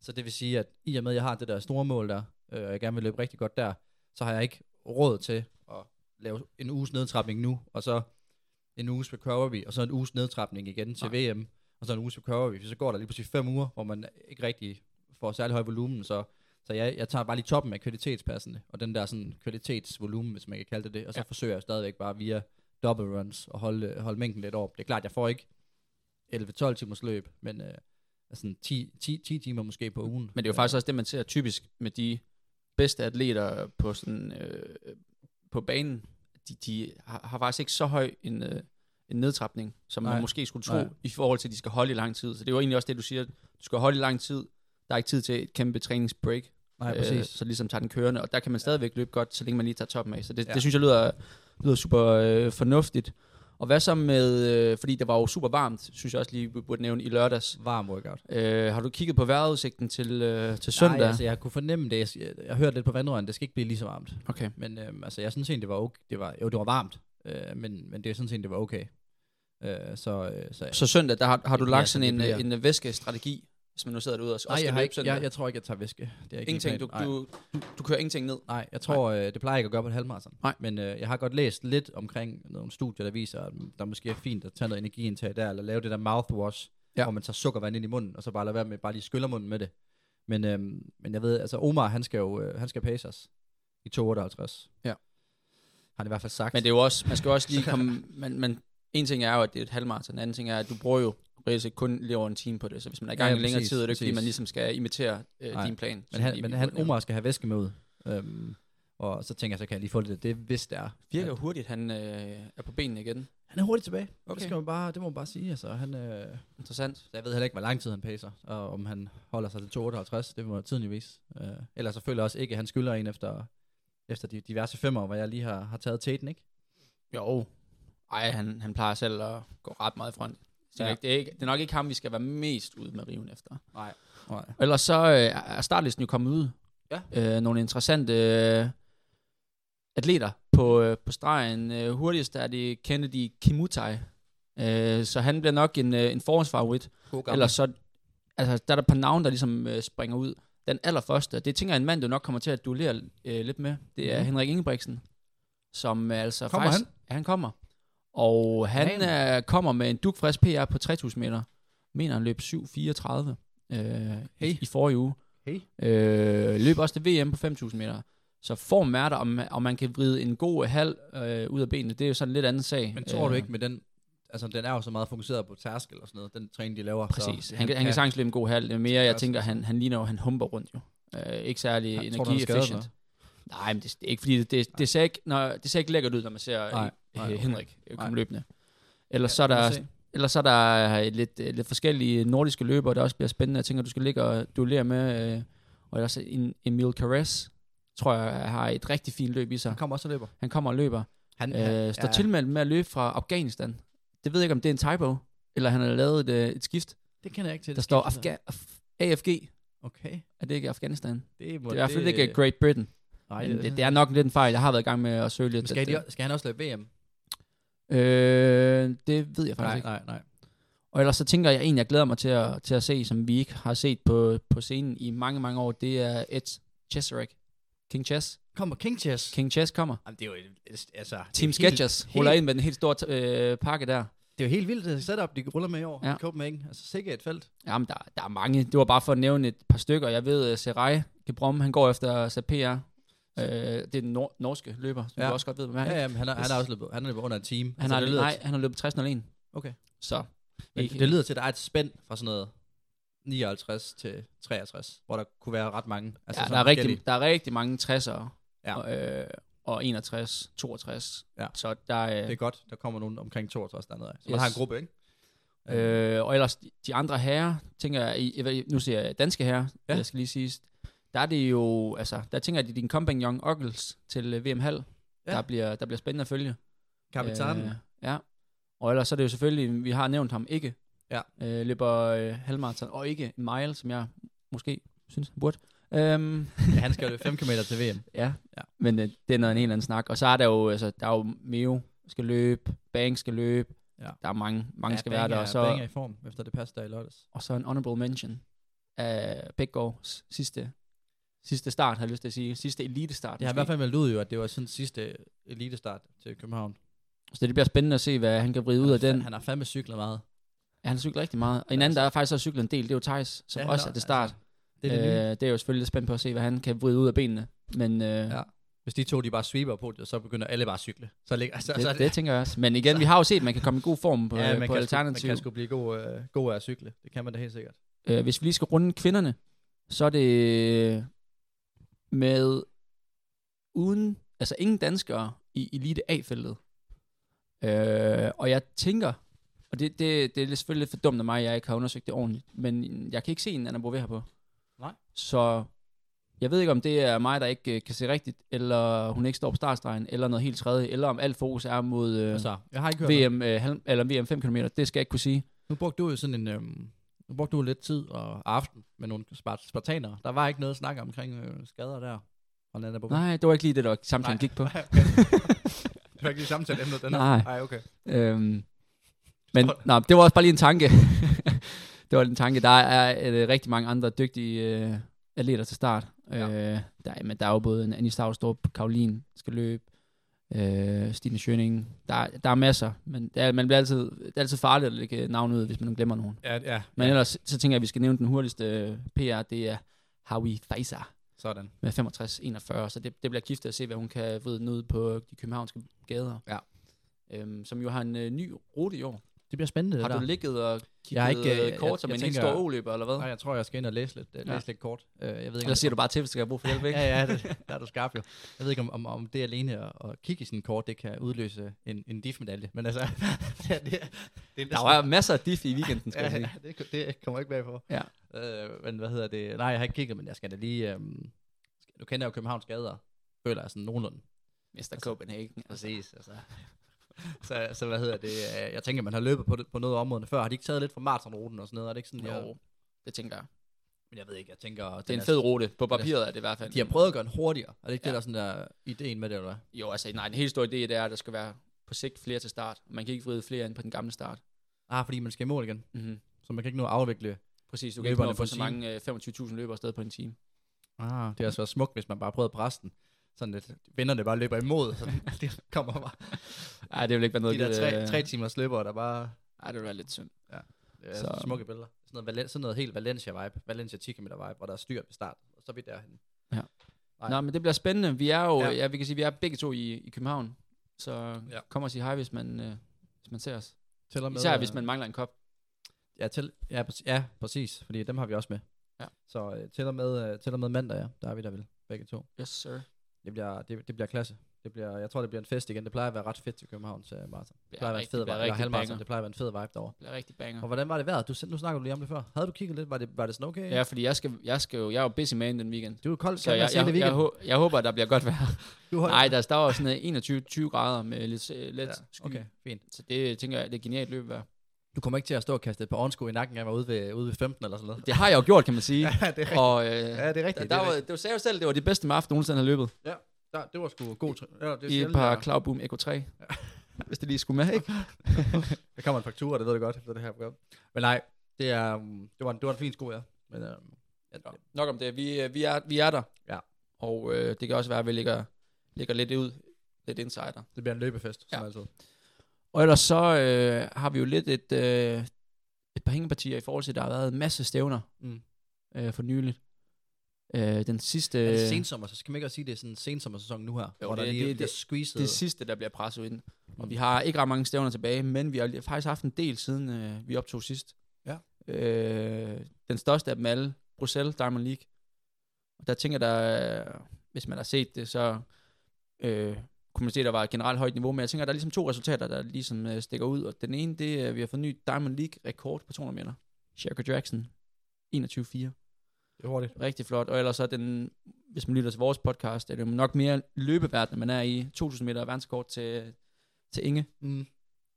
S4: Så det vil sige, at i og med, at jeg har det der store mål der, øh, og jeg gerne vil løbe rigtig godt der, så har jeg ikke råd til at lave en uges nedtrapning nu, og så en uges recovery, og så en uges nedtrapning igen til Nej. VM, og så en uges recovery. Så går der lige pludselig fem uger, hvor man ikke rigtig får særlig høj volumen, så, så jeg, jeg tager bare lige toppen af kvalitetspassende, og den der sådan kvalitetsvolumen, hvis man kan kalde det det, og så ja. forsøger jeg stadigvæk bare via double runs at holde, holde mængden lidt op. Det er klart, jeg får ikke 11-12 timers løb, men øh, altså 10, 10, 10 timer måske på ugen.
S5: Men det er jo
S4: Øh,
S5: faktisk også det, man ser typisk med de bedste atleter på, sådan, øh, på banen. De, de har, har faktisk ikke så høj en, øh, en nedtrapning, som Nej. man
S4: Nej.
S5: måske skulle tro,
S4: Nej.
S5: i forhold til, at de skal holde i lang tid. Så det er jo egentlig også det, du siger. Du skal holde i lang tid. Der er ikke tid til et kæmpe træningsbreak.
S4: Nej, præcis.
S5: Øh, så ligesom tager den kørende, og der kan man stadigvæk løbe godt, så længe man lige tager toppen af. Så det, ja.
S4: Ja.
S5: det synes jeg lyder, lyder super øh, fornuftigt. Og hvad så med, øh, fordi det var jo super varmt, synes jeg også lige, vi burde nævne i lørdags.
S4: varm workout.
S5: Øh, har du kigget på vejrudsigten til, øh, til søndag?
S4: Nej, altså jeg kunne fornemme det. Jeg, jeg, jeg hørte lidt på vandrøren, det skal ikke blive lige så varmt.
S5: Okay.
S4: Men øhm, altså, jeg synes egentlig, det var okay. Det var, jo, det var varmt, øh, men, men det er sådan set, det var okay. Øh, så, øh, så,
S5: Så søndag, der har, har du
S4: Det
S5: lagt
S4: bliver,
S5: sådan en,
S4: som det
S5: øh, en øh, væskestrategi, hvis man nu sidder derude og også
S4: nej,
S5: skal
S4: jeg, har
S5: løbe
S4: ikke,
S5: søndag.
S4: jeg, jeg tror ikke, jeg tager væske. Det er ikke min
S5: ingenting, du,
S4: plan. Nej.
S5: du, du, du kører ingenting ned.
S4: Nej, jeg tror, øh, det plejer jeg ikke at gøre på et halvmarathon.
S5: Nej.
S4: Men øh, jeg har godt læst lidt omkring nogle studier, der viser, at der måske er fint at tage noget energiindtag der, eller lave det der mouthwash,
S5: Ja.
S4: ja. hvor man tager sukkervand ind i munden, og så bare lader være med, bare lige skyller munden med det. Men, øh, men jeg ved, altså Omar, han skal jo, øh, han skal pace os i 258.
S5: Ja.
S4: Har han i hvert fald sagt.
S5: Men det er jo også, man skal jo også lige komme, man, man, en ting er jo, at det er et halvmarathon, en anden ting er, at du bruger jo reelt set kun lige over en time på det, så hvis man er i gang
S4: Ja,
S5: i længere
S4: præcis,
S5: tid, er det ikke, fordi
S4: præcis.
S5: man ligesom skal imitere øh,
S4: Nej.
S5: din plan.
S4: men
S5: som
S4: han,
S5: vi-
S4: men
S5: vi
S4: han,
S5: burde nævne.
S4: Omar skal have væske med ud. Øhm, og så tænker jeg, så kan jeg lige få lidt af det, hvis det er.
S5: Virker jo hurtigt, han øh, er på benene igen.
S4: Han er hurtigt tilbage.
S5: Okay.
S4: Okay. Det, skal man bare, det må man bare sige. Altså, han, øh,
S5: Interessant.
S4: Så jeg ved heller ikke, hvor lang tid han pacer, og om han holder sig til 2,58, det må tiden jo vise. Øh, ellers selvfølgelig også ikke, at han skylder en efter, efter de diverse femmer, hvor jeg lige har, har taget tæten, ikke?
S5: Jo. Ej, han, han plejer selv at gå ret meget i front. Så
S4: Ja.
S5: ja. det, er ikke, det er nok ikke ham, vi skal være mest ude med riven efter.
S4: Nej. Nej.
S5: Og Ellers så øh, er startlisten jo kommet ud.
S4: Ja.
S5: Øh, nogle interessante øh, atleter på, øh, på stregen. Øh, hurtigst er det Kennedy Kimutai Øh, så han bliver nok en, øh, en forårsfavorit.
S4: God gammel.
S5: Ellers så, altså, der er der et par navne, der ligesom øh, springer ud. Den allerførste, det tænker jeg, en mand, du nok kommer til at duellere øh, lidt med, det er
S4: Mhm.
S5: Henrik Ingebrigtsen, som øh, altså
S4: Kommer
S5: faktisk... Ja, han kommer. Og han øh, kommer med en dukfrisk PR på 3000 meter. Mener han løb 7.34 øh, hey. i, i forrige uge.
S4: Hey.
S5: Øh, løb også til VM på 5000 meter. Så form er der, om, om man kan vride en god halv øh, ud af benene, det er jo sådan en lidt anden sag.
S4: Men tror du
S5: Øh,
S4: ikke med den... Altså, den er jo så meget fokuseret på tærskel og sådan noget, den træning, de laver.
S5: Præcis.
S4: Så,
S5: Så, han, kan, han kan sagtens løbe en god halv. Det er mere, jeg
S4: Også.
S5: tænker, han, han ligner jo, han humper rundt jo. Øh, ikke særlig
S4: Han- tror du, han er skadet,
S5: energi-efficient. Nej, men det, det er ikke, fordi det, det, det, ser ikke, når, det ser ikke lækkert ud, når man ser
S4: Nej,
S5: nej,
S4: nej,
S5: nej,
S4: okay.
S5: Henrik øh, komme
S4: Nej.
S5: løbende. Ellers,
S4: Ja,
S5: så er
S4: lad mig
S5: der,
S4: se.
S5: ellers så er der øh, lidt, øh, lidt forskellige nordiske løbere, der også bliver spændende. Jeg tænker, du skal ligge og duellere med. Øh, og ellers en, Emil Carrez, tror jeg, har et rigtig fint løb i sig.
S4: Han kommer også og løber.
S5: Han kommer og løber.
S4: Han,
S5: Øh, står tilmeldt med at løbe fra Afghanistan. Det ved jeg ikke, om det er en typo, eller han har lavet et, øh, et skift.
S4: Det kender jeg ikke til.
S5: Der
S4: det
S5: står
S4: skifter.
S5: Afga- Af- AFG.
S4: Okay.
S5: Er det ikke Afghanistan? Det
S4: Det, må,
S5: er i hvert fald ikke Great Britain.
S4: Nej,
S5: Men det, det er nok lidt en fejl. Jeg har været i gang med at søge lidt.
S4: Men skal,
S5: det,
S4: de, skal han også løbe VM?
S5: øh, det ved jeg faktisk
S4: Nej,
S5: ikke.
S4: nej, nej.
S5: Og ellers så tænker jeg en, jeg glæder mig til at, til at se, som vi ikke har set på, på scenen i mange, mange år. Det er Ed Cheserek. King Chess.
S4: Kommer King Chess.
S5: King Chess kommer.
S4: Jamen, det er jo et- et- altså... det er
S5: Team
S4: helt-
S5: Sketchers ruller ind med den helt store t- øh, pakke der.
S4: Det er jo helt vildt, det setup, de ruller med i år ja.
S5: Ja.
S4: i Copenhagen. Altså, sikkert et felt.
S5: Jamen, der, der er mange. Det var bare for at nævne et par stykker. Jeg ved, at Serai Gebrom, han går efter SAPR. Øh, det er den nor- norske løber, som
S4: Ja.
S5: ja. du også godt ved, hvem er.
S4: Ja, ja, men han, er, han er også løbet, han er løbet under en time.
S5: Han har,
S4: det
S5: altså,
S4: lyder,
S5: nej, han har løbet 60 01.
S4: Okay.
S5: Så.
S4: men
S5: ikke-
S4: det lyder til, at der er et spænd fra sådan noget 59 til 63, hvor der kunne være ret mange.
S5: altså, ja,
S4: sådan
S5: der, er
S4: forskellige.
S5: rigtig, der er rigtig mange 60'ere.
S4: Ja.
S5: Og, øh, og 61, 62.
S4: Ja.
S5: Så der er...
S4: Det er godt, der kommer nogen omkring 62 dernede. af. Så yes. man
S5: Yes.
S4: har en gruppe, ikke? Mm.
S5: Øh, og ellers de- de andre herrer, tænker jeg, i, i- nu siger jeg danske herrer,
S4: Ja.
S5: ja. jeg skal lige sige, der er det jo, altså, der tænker jeg, det er din kompagnon Ockels til øh, VM Hal,
S4: Ja.
S5: ja. der, bliver, der bliver spændende at følge.
S4: Kapitanen.
S5: Øh, ja. Og ellers så er det jo selvfølgelig, vi har nævnt ham ikke.
S4: Ja.
S5: Øh, løber øh, halvmarathon, og ikke en mile, som jeg måske synes, han burde. Øhm,
S4: Ja, han skal løbe 5 km til VM.
S5: ja.
S4: Ja.
S5: ja. Men øh, det er noget en helt anden snak. Og så er der jo, altså, der er jo Meo skal løbe, Bang skal løbe.
S4: Ja.
S5: Der er mange,
S4: ja,
S5: mange ja, skal
S4: Bang
S5: være der.
S4: Er,
S5: Og
S4: Bang er
S5: så,
S4: i form, efter det passer der i lørdags.
S5: og så en honorable mention af Bækgaards sidste, sidste start, har jeg lyst til at sige. Sidste elitestart.
S4: Det har i
S5: måske.
S4: hvert fald meldt ud jo, at det var sådan sidste elitestart til København.
S5: Så det bliver spændende at se, hvad han kan vride ud af den.
S4: Han har fandme cyklet meget.
S5: Ja, han cykler rigtig meget. Og en
S4: Ja,
S5: anden, der
S4: altså.
S5: er faktisk har cyklet en del, det er jo Thijs, som
S4: Ja,
S5: ja, også
S4: nå,
S5: er til start.
S4: altså, Det er det nye.
S5: øh, det er jo selvfølgelig lidt spændt på at se, hvad han kan vride ud af benene. Men øh, ja,
S4: Hvis de to de bare sweeper på det, så begynder alle bare at cykle. Så ligger, altså, så,
S5: det, det tænker jeg også. Men igen, vi har jo set, at man kan komme i god form på,
S4: ja, man
S5: ja, på
S4: kan, sgu, man
S5: alternativ.
S4: kan sgu blive god, øh, god af at cykle. Det kan man da helt sikkert.
S5: Øh, hvis vi lige skal runde kvinderne, så er det øh, med uden, altså ingen danskere i Elite A-feltet. Øh, og jeg tænker, og det, det, det er lidt- selvfølgelig lidt for dumt af mig, at jeg ikke har undersøgt det ordentligt, men jeg kan ikke se en Anna Bové her på.
S4: Nej.
S5: Så jeg ved ikke, om det er mig, der ikke øh, kan se rigtigt, eller hun ikke står på startstregen, eller noget helt tredje, eller om alt fokus er mod øh,
S4: Altså, jeg har ikke hørt VM.
S5: VM, øh, halv, eller VM 5 km. Det skal jeg ikke kunne sige.
S4: Nu brugte du jo sådan en... Øhm, nu brugte du lidt tid og aften med nogle spart- spartanere. Der var ikke noget at snakke omkring øh, skader der. Og Nana Bobo.
S5: Nej, det var ikke lige det, der
S4: Nej.
S5: samtalen gik på.
S4: Det var ikke lige samtale emnet, den
S5: Nej.
S4: Nej, okay.
S5: Øhm, men nej, det var også bare lige en tanke. det var en tanke. Der er øh, rigtig mange andre dygtige øh, atleter til start.
S4: Ja.
S5: Ja. Øh, der, er- men der er jo både en Annie Stavstrup, Karoline skal løbe, øh, Stine Schøning. Der, er- der er masser, men det er, man bliver altid, det er altid farligt at lægge navn ud, hvis man glemmer nogen.
S4: Ja, ja.
S5: Men ellers så tænker jeg, at vi skal nævne den hurtigste øh, PR, det er Howie Faisar
S4: Sådan.
S5: med 65-41, så det, det bliver giftet at se, hvad hun kan vride den ud på de københavnske gader.
S4: Ja.
S5: Øhm, som jo har en øh, ny rute i år.
S4: Det bliver spændende, det
S5: Har
S4: der.
S5: du ligget og kigget
S4: Jeg har ikke, øh, jeg-
S5: ikke, kort som
S4: jeg
S5: en helt
S4: tænker-
S5: stor oløber, eller hvad?
S4: Nej, jeg tror, jeg skal ind og læse lidt, ja.
S5: Ja.
S4: læse lidt kort. Øh, jeg ved ikke,
S5: Eller siger du bare til, hvis jeg har brug for hjælp, ikke?
S4: ja, ja, det, der er du skarp jo. Jeg ved ikke, om, om, om det alene at, at kigge i sådan en kort, det kan udløse en, en diff-medalje. Men altså, det, er- det, er- det er
S5: Der var masser af diff i weekenden, skal jeg
S4: ja,
S5: sige.
S4: ja, det, ko- det kommer ikke bag på.
S5: Ja.
S4: Øh, men hvad hedder det? Nej, jeg har ikke kigget, men jeg skal da lige... Øhm, skal- nu kender jeg jo Københavns gader, føler jeg sådan nogenlunde.
S5: Mr. Copenhagen.
S4: Præcis, altså. så, så hvad hedder det? øh, Jeg tænker, man har løbet på, det- på noget af områderne før. Har de ikke taget lidt fra maratonruten og sådan noget? Er det ikke sådan,
S5: Jo, det tænker jeg.
S4: Men jeg ved ikke, jeg tænker...
S5: Det er en fed rute. På papiret er det i hvert fald.
S4: De har prøvet at gøre den hurtigere. Er det ikke ja.
S5: Ja.
S4: det, der er sådan der ideen med det, eller hvad?
S5: Jo, altså, nej, den helt store idé, det er, at der skal være på sigt flere til start. Man kan ikke vride flere ind på den gamle start.
S4: Ah, fordi man skal i mål igen.
S5: Mm-hmm.
S4: Så man kan ikke nå at afvikle.
S5: Præcis, du kan ikke
S4: Løberne
S5: nå
S4: på
S5: at få
S4: en
S5: så
S4: time.
S5: mange øh, 25.000 løbere afsted på en time.
S4: Ah, det er også været smukt, hvis man bare prøvede at presse den. Sådan lidt, vinderne bare løber imod. Så det kommer bare.
S5: Nej, det vil ikke være noget...
S4: De der
S5: det,
S4: tre,
S5: øh,
S4: tre timers løbere, der bare...
S5: Ej, det vil være lidt synd.
S4: Det er
S5: Så-
S4: så... smukke billeder. Sådan noget, Valen- sådan noget helt Valencia-vibe. Valencia 10 km vibe, hvor der er styr ved start. Og så er vi derhen. Nej.
S5: Nå, men det bliver spændende. Vi er jo, ja.
S4: Ja.
S5: ja vi kan sige, vi er begge to i, i København. Så ja.
S4: Ja.
S5: kom og sig hej, hvis man, øh, hvis man ser os.
S4: Tæller med,
S5: Især
S4: øh,
S5: hvis man mangler en kop.
S4: Ja, til, ja, præcis, ja, præcis, fordi dem har vi også med.
S5: Ja.
S4: Så øh, til, og med, øh, til og med mandag, ja, der er vi der vel, begge to.
S5: Yes, sir.
S4: Det bliver, det, det bliver klasse. Det bliver, jeg tror, det bliver en fest igen. Det plejer at være ret fedt til København til maraton. Det
S5: Bliver
S4: plejer at være en
S5: rigtig-
S4: fed
S5: bliver
S4: vibe, eller
S5: rigtig
S4: halvmarathon.
S5: banger.
S4: Det plejer at være en fed vibe derovre.
S5: Det bliver rigtig banger.
S4: Og hvordan var det vejret? Du, selv- nu snakkede du lige om det før. Havde du kigget lidt? Var det, var det sådan okay?
S5: Ja, fordi jeg skal, jeg skal jo, jeg er jo busy man den weekend.
S4: Du er kold,
S5: Så
S4: kan man
S5: jeg,
S4: sige,
S5: jeg,
S4: det
S5: jeg, jeg,
S4: weekend.
S5: hå- jeg håber, der bliver godt vejr.
S4: Du holdt-
S5: Nej, der står jo sådan øh, 21-20 grader med lidt, øh, let
S4: ja,
S5: sky.
S4: okay, fint.
S5: Så det tænker jeg, det er genialt løbevejr.
S4: Du kommer ikke til at stå og kaste et par ovensko i nakken af mig ude ved, ude ved 15 eller sådan noget.
S5: Det har jeg jo gjort, kan man sige.
S4: ja, det er rigtigt.
S5: Og, øh,
S4: Ja, det er
S5: der,
S4: rigtigt.
S5: der
S4: det, er
S5: var,
S4: rigtigt.
S5: du sagde jo selv, det var det bedste maraton, du nogensinde har løbet.
S4: Der, det var sgu god træ. Ja, det er
S5: I et
S4: sjældent,
S5: par
S4: jeg-
S5: Cloud Boom Echo 3. Hvis det lige skulle med, ikke?
S4: Der kommer en faktura, det ved du godt, efter det her program. Men nej, det, er, um, det, var, en, det var en fin sko, ja. Men, øh, ja,
S5: Nå, Nok om det. Vi, øh, vi, er, vi er der.
S4: Ja.
S5: Og øh, det kan også være, at vi ligger, ligger lidt ud. Lidt insider.
S4: det bliver en løbefest, som
S5: Ja.
S4: altid.
S5: Og ellers så øh, har vi jo lidt et, øh, et par hængepartier i forhold til, at der har været en masse stævner
S4: Mm.
S5: øh, for nyligt. Øh, den sidste...
S4: Er det sensommer, så skal man ikke også sige, at det er sådan en sensommersæson nu her,
S5: Jo,
S4: hvor det,
S5: det-
S4: der lige
S5: det-
S4: det, bliver
S5: det-
S4: squeezet.
S5: det sidste, der bliver presset ind. Og vi har ikke ret mange stævner tilbage, men vi har lige- faktisk haft en del siden øh, vi optog sidst.
S4: Ja.
S5: Øh, den største af dem alle, Bruxelles Diamond League. Og der tænker der, øh, hvis man har set det, så øh, kunne man se, at der var et generelt højt niveau. Men jeg tænker, der er ligesom to resultater, der ligesom øh, stikker ud. Og den ene, det er, at vi har fået ny Diamond League-rekord på 200 meter. Sherka Jackson, 21-4.
S4: det er hurtigt.
S5: Rigtig flot. Og ellers så er den, hvis man lytter til vores podcast, er det jo nok mere løbeverden, man er i. 2000 meter verdenskort til, til Inge.
S4: Mm.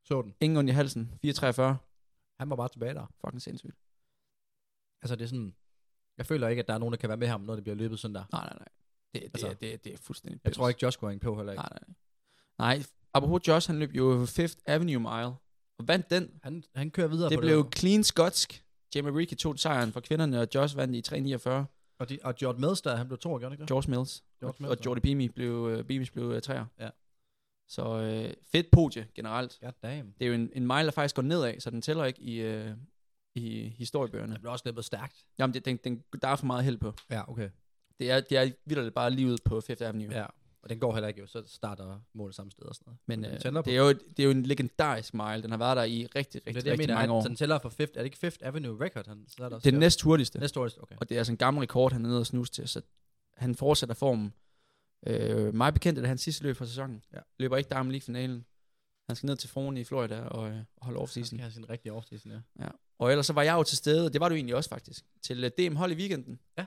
S4: Så den.
S5: Inge i halsen, 4,43.
S4: Han var bare tilbage der.
S5: Fucking sindssygt.
S4: Altså, det er sådan... Jeg føler ikke, at der er nogen, der kan være med ham, når det bliver løbet sådan der.
S5: Nej, nej, nej. Det, det, altså,
S4: Altså,
S5: det, det, det er fuldstændig
S4: Jeg
S5: pips.
S4: tror ikke, Josh går på heller ikke.
S5: Nej, nej, nej. Nej, apropos Josh, han løb jo Fifth Avenue Mile. Og vandt den.
S4: Han, han kører videre
S5: Det
S4: på
S5: blev jo
S4: det.
S5: clean skotsk. Jamie Ricky tog sejren for kvinderne, og Josh vandt i 3,49.
S4: Og, de, og Jordan Medstad, han blev to år, gjorde han ikke det?
S5: George Mills.
S4: George
S5: og,
S4: Mills,
S5: og
S4: ja.
S5: Jordi Bimi blev, øh, Bimis blev øh, træer.
S4: Ja.
S5: Så øh, fedt podie generelt.
S4: Ja, damn.
S5: Det er jo en, en mile, der faktisk går nedad, så den tæller ikke i, øh, i historiebøgerne.
S4: Han blev også løbet stærkt.
S5: Jamen, det, den, den, der er for meget held på.
S4: Ja, okay.
S5: Det er, det er vildt bare lige ud på Fifth Avenue.
S4: Ja. Og den går heller ikke, jo. så starter målet samme sted og sådan noget.
S5: Men
S4: den
S5: øh,
S4: tæller på.
S5: det, er jo, et- det er jo en legendarisk mile. Den har været der i rigtig,
S4: Det er
S5: rigtig,
S4: det, jeg
S5: rigtig
S4: mener,
S5: mange år.
S4: at den tæller for 5th, er det ikke 5th Avenue Record? Han, så er der
S5: Det er den næst hurtigste.
S4: næste år, okay.
S5: Og det er altså en gammel rekord, han er nede og snuse til, så han fortsætter formen. Øh, meget bekendt er det hans sidste løb for sæsonen.
S4: Ja.
S5: Løber ikke Diamond League-finalen. Han skal ned til Froen i Florida og, øh, og holde
S4: Han
S5: off-season.
S4: skal have sin rigtige årstidsen, ja.
S5: Og ellers så var jeg jo til stede, og det var du egentlig også faktisk, til øh, DM Hold i weekenden.
S4: Ja.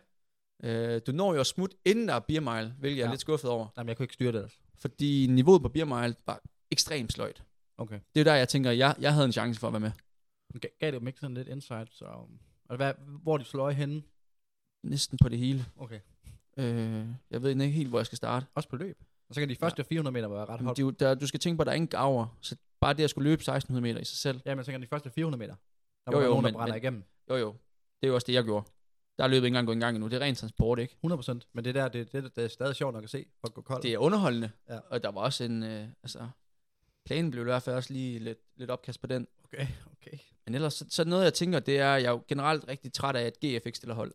S5: Øh, du når jo at smutte inden der er beer mile, hvilket jeg er
S4: Ja.
S5: lidt skuffet over.
S4: Jamen, jeg kunne ikke styre det. altså.
S5: Fordi niveauet på beer mile var ekstremt sløjt.
S4: Okay.
S5: Det er jo der, jeg tænker, jeg, jeg havde en chance for at være med.
S4: Men ga- gav det dem ikke sådan lidt insight, så... um, Og hvad, hvor de slår øje henne?
S5: Næsten på det hele.
S4: Okay.
S5: Øh, jeg ved ikke helt, hvor jeg skal starte.
S4: Også på løb. Og så kan de første 400 meter være ret
S5: Men
S4: hårdt.
S5: det, er jo- der, du skal tænke på, at der er ingen gaver. Så bare det at skulle løbe 1600 meter i sig selv.
S4: Ja, men så kan de første 400 meter. Der
S5: Jo,
S4: var jo,
S5: jo,
S4: nogen,
S5: men-
S4: der brænder
S5: men-
S4: igennem.
S5: Jo jo, det er jo også det, jeg gjorde. Der er løbet ikke engang gået i gang endnu. Det er ren transport, ikke?
S4: 100%. Men det der, det, det, det er stadig sjovt nok at se. Folk går koldt.
S5: Det er underholdende.
S4: Ja.
S5: Og der var også en... Øh, altså, planen blev i hvert fald også lige lidt, lidt opkast på den.
S4: Okay, okay.
S5: Men ellers, så, så noget jeg tænker, det er, at jeg er jo generelt rigtig træt af, at GF ikke stiller hold.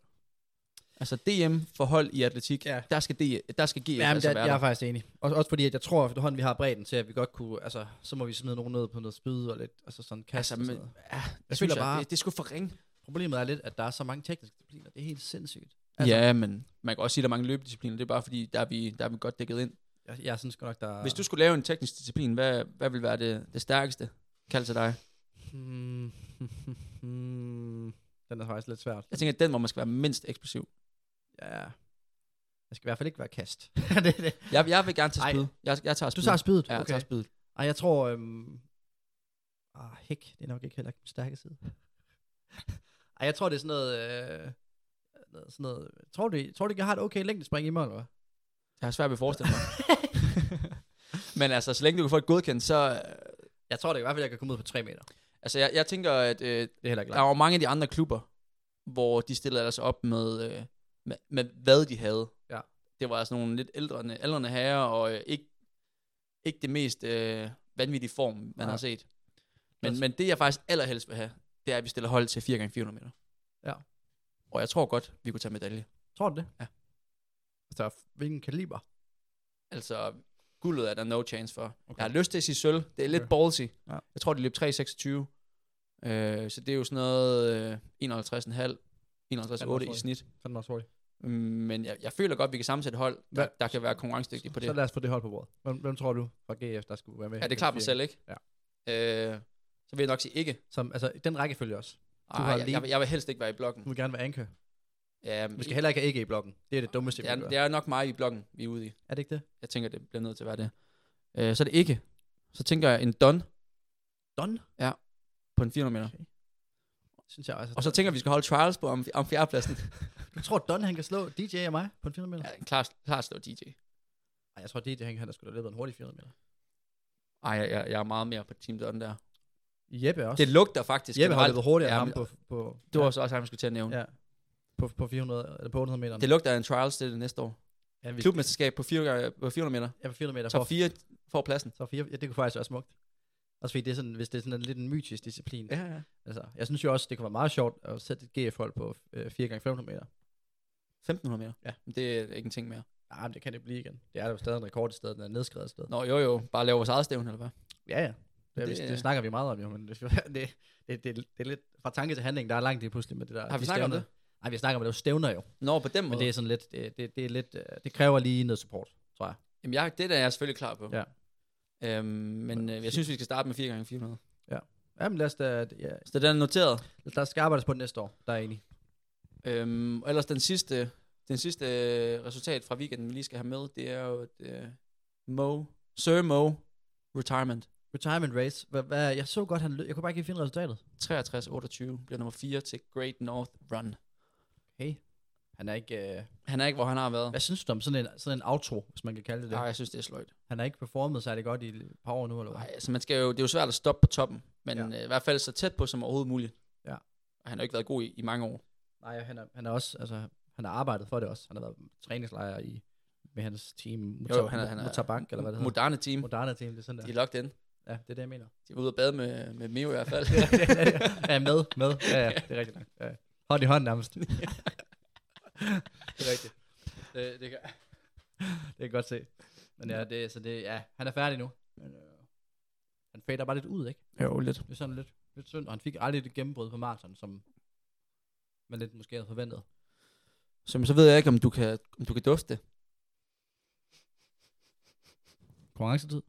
S5: Altså DM for hold i atletik, ja.
S4: Ja.
S5: der, skal DF, der skal GF
S4: Ja, men
S5: altså
S4: der,
S5: være
S4: jeg er
S5: der.
S4: faktisk enig. Også, også fordi, at jeg tror efterhånden, vi har bredden til, at vi godt kunne... Altså, så må vi smide nogen ned på noget spyd og lidt... Altså sådan kast
S5: Altså,
S4: og sådan
S5: men,
S4: noget.
S5: ja, jeg
S4: Jeg
S5: synes
S4: føler
S5: jeg, bare...
S4: bare-
S5: det, det skulle for ringe.
S4: Problemet er lidt, at der er så mange tekniske discipliner. Det er helt sindssygt.
S5: Altså,
S4: Altså-
S5: ja, men man kan også sige, at der er mange løbediscipliner. Det er bare fordi, der er vi, der er vi godt dækket ind.
S4: Jeg, jeg synes godt nok, der...
S5: Hvis du skulle lave en teknisk disciplin, hvad, hvad vil være det, det stærkeste? Kald til dig.
S4: Hmm, den er faktisk lidt svært.
S5: Jeg tænker, at den, hvor man skal være mindst eksplosiv.
S4: Ja. Jeg skal i hvert fald ikke være kast. det, er det.
S5: Jeg, jeg vil gerne tage
S4: Ej.
S5: spyd. Jeg, jeg tager
S4: Du
S5: spyd.
S4: tager spydet?
S5: Altså, Ja, jeg tager spyd.
S4: Ej, jeg tror... Øhm... Ah, hæk. Det er nok ikke heller ikke min stærke side. Ej, jeg tror, det er sådan noget... Øh... noget- Sådan noget... Tror du, tror du ikke, jeg har et okay længdespring i mig, eller hvad?
S5: Jeg har svært ved at forestille mig. Men altså, så længe du kan få et godkendt, så... øh,
S4: Jeg tror da i hvert fald, jeg kan komme ud på 3 meter.
S5: Altså, jeg, jeg tænker, at øh,
S4: Det er heller ikke
S5: der
S4: langt.
S5: var mange af de andre klubber, hvor de stillede ellers op med, øh, med, med hvad de havde.
S4: Ja.
S5: Det var altså nogle lidt ældre, ældre herrer, og øh, ikke, ikke det mest øh, vanvittige form, man
S4: Nej.
S5: har set. Men,
S4: Altså-
S5: men det, jeg faktisk allerhelst vil have, det er, at vi stiller hold til 4x400 meter.
S4: Ja.
S5: Og jeg tror godt, vi kunne tage medalje.
S4: Tror du det? Altså,
S5: Ja.
S4: Så hvilken kaliber?
S5: Altså, guldet er der no chance for. Okay.
S4: Okay.
S5: Jeg har lyst til at sige sølv. Det er lidt
S4: Okay.
S5: ballsy.
S4: Ja.
S5: Jeg tror, de løb 3,26. Øh, så det er jo sådan noget øh, 51,5, 51,8 i snit.
S4: Sådan også hurtigt.
S5: Men jeg, jeg føler godt, at vi kan sammensætte hold, der,
S4: Hvad?
S5: der kan være konkurrencedygtige på det.
S4: Så lad os få det hold på bordet. Hvem, hvem tror du fra GF, der skulle være med?
S5: Ja, det er klart mig selv, ikke?
S4: Ja.
S5: Øh, så vil jeg nok sige ikke.
S4: Som, altså, i den rækkefølge også.
S5: Ej,
S4: har
S5: jeg,
S4: lige-
S5: jeg, jeg vil helst ikke være i
S4: Du
S5: blokken.
S4: vil gerne være anker.
S5: Ja,
S4: Vi skal heller ikke have ikke i blokken. Det er det dummeste,
S5: det,
S4: vi kan
S5: er,
S4: gøre.
S5: det er nok mig i blokken, vi er ude i.
S4: Er det ikke det?
S5: Jeg tænker, det bliver nødt til at være det. Øh, så er det ikke. Så tænker jeg en don
S4: Don?
S5: på en 400 meter.
S4: Synes jeg også.
S5: Og så tænker jeg, vi skal holde trials på om, om fjerdepladsen.
S4: Du tror, Don han kan slå DJ og mig på en 400 meter?
S5: Ja, klart, klart slå DJ.
S4: Nej, jeg tror, DJ han, han har skulle da løbet en hurtig 400 meter.
S5: Ej, jeg, jeg, jeg er meget mere på Team Don der.
S4: Jeppe også.
S5: Det lugter faktisk.
S4: Jeppe har
S5: generelt-
S4: løbet hurtigere
S5: Ja,
S4: end ham
S5: men-
S4: på, på,
S5: Det var også også ham, jeg skulle til at nævne.
S4: ja, på, på, 400, eller på 800 meter.
S5: Det lugter af en trials til det næste år.
S4: ja, vi,
S5: Klubmesterskab på 400, på 400 meter.
S4: ja, på 400 meter.
S5: Top 4 får pladsen.
S4: Så fire, ja, det kunne faktisk være smukt. Også fordi det er sådan, hvis det er sådan en lidt en mytisk disciplin. Ja.
S5: ja.
S4: Altså, jeg synes jo også, det kunne være meget sjovt at sætte et GF-hold på øh, 4x500 meter.
S5: 1500 meter.
S4: Ja.
S5: Men Det er ikke en ting mere.
S4: Nej, Ah, men det kan det blive igen. Det er jo stadig en rekord i stedet, den er nedskrevet et sted.
S5: Nå, jo jo. Bare lave vores eget stævn, eller hvad?
S4: Ja, ja. Det,
S5: Det-
S4: det, det, snakker vi meget om jo, men det, det, det, det, det er lidt fra tanke til handling, der er langt det pludselig med det der.
S5: Har vi snakket om det?
S4: Nej, vi snakker om det, det er jo stævner jo.
S5: Nå, på den måde.
S4: Men det er sådan lidt, det, det, det er lidt, øh, det kræver lige noget support, tror jeg.
S5: Jamen, jeg, det er der er jeg selvfølgelig klar på.
S4: Ja.
S5: Øhm, men øh, jeg synes, vi skal starte med 4x400.
S4: Jamen lad os da, ja,
S5: Så den er noteret.
S4: der skal arbejdes på det næste år, der er jeg enig.
S5: Øhm, og ellers den sidste, den sidste øh, resultat fra weekenden, vi lige skal have med, det er jo et øh, Mo, Sir Mo Retirement.
S4: Retirement race, hvad, hvad, jeg så godt, han lød, jeg kunne bare ikke finde resultatet.
S5: 63-28 bliver nummer 4 til Great North Run.
S4: Hey, han er ikke, øh,
S5: Han er ikke, hvor han har været.
S4: Hvad synes du om sådan en, sådan en outro, hvis man kan kalde det det?
S5: Nej,
S4: Ej.
S5: jeg synes, det er sløjt.
S4: Han har ikke performet særlig godt i et par år nu, eller hvad?
S5: Nej, altså man skal jo, det er jo svært at stoppe på toppen, men
S4: Ja.
S5: ja. øh, i hvert fald så tæt på som overhovedet muligt.
S4: Ja.
S5: Og han har jo ikke været god i, i mange år.
S4: Nej, han er, han er også, altså, han har arbejdet for det også. Han har været træningslejr i, med hans team, Muta,
S5: jo, han er- han er-
S4: Mutabank, eller hvad det hedder.
S5: Moderne team,
S4: Moderne team, det Mm. er sådan der.
S5: de er locked in.
S4: Ja, det er det, jeg mener.
S5: De var ude og bade med, med Mio i hvert fald.
S4: ja, med, med. Ja, ja, det er rigtigt nok. Ja. Hånd i hånd nærmest. det er rigtigt. Det, det, kan, det kan godt se. Men ja, det, så det, ja, han er færdig nu. Men, øh, han fader bare lidt ud, ikke?
S5: jo, lidt.
S4: Det er sådan lidt, lidt synd, og han fik aldrig det gennembrud på maraton, som man lidt måske havde forventet.
S5: Så, så ved jeg ikke, om du kan, om du kan dufte det.
S4: Konkurrencetid?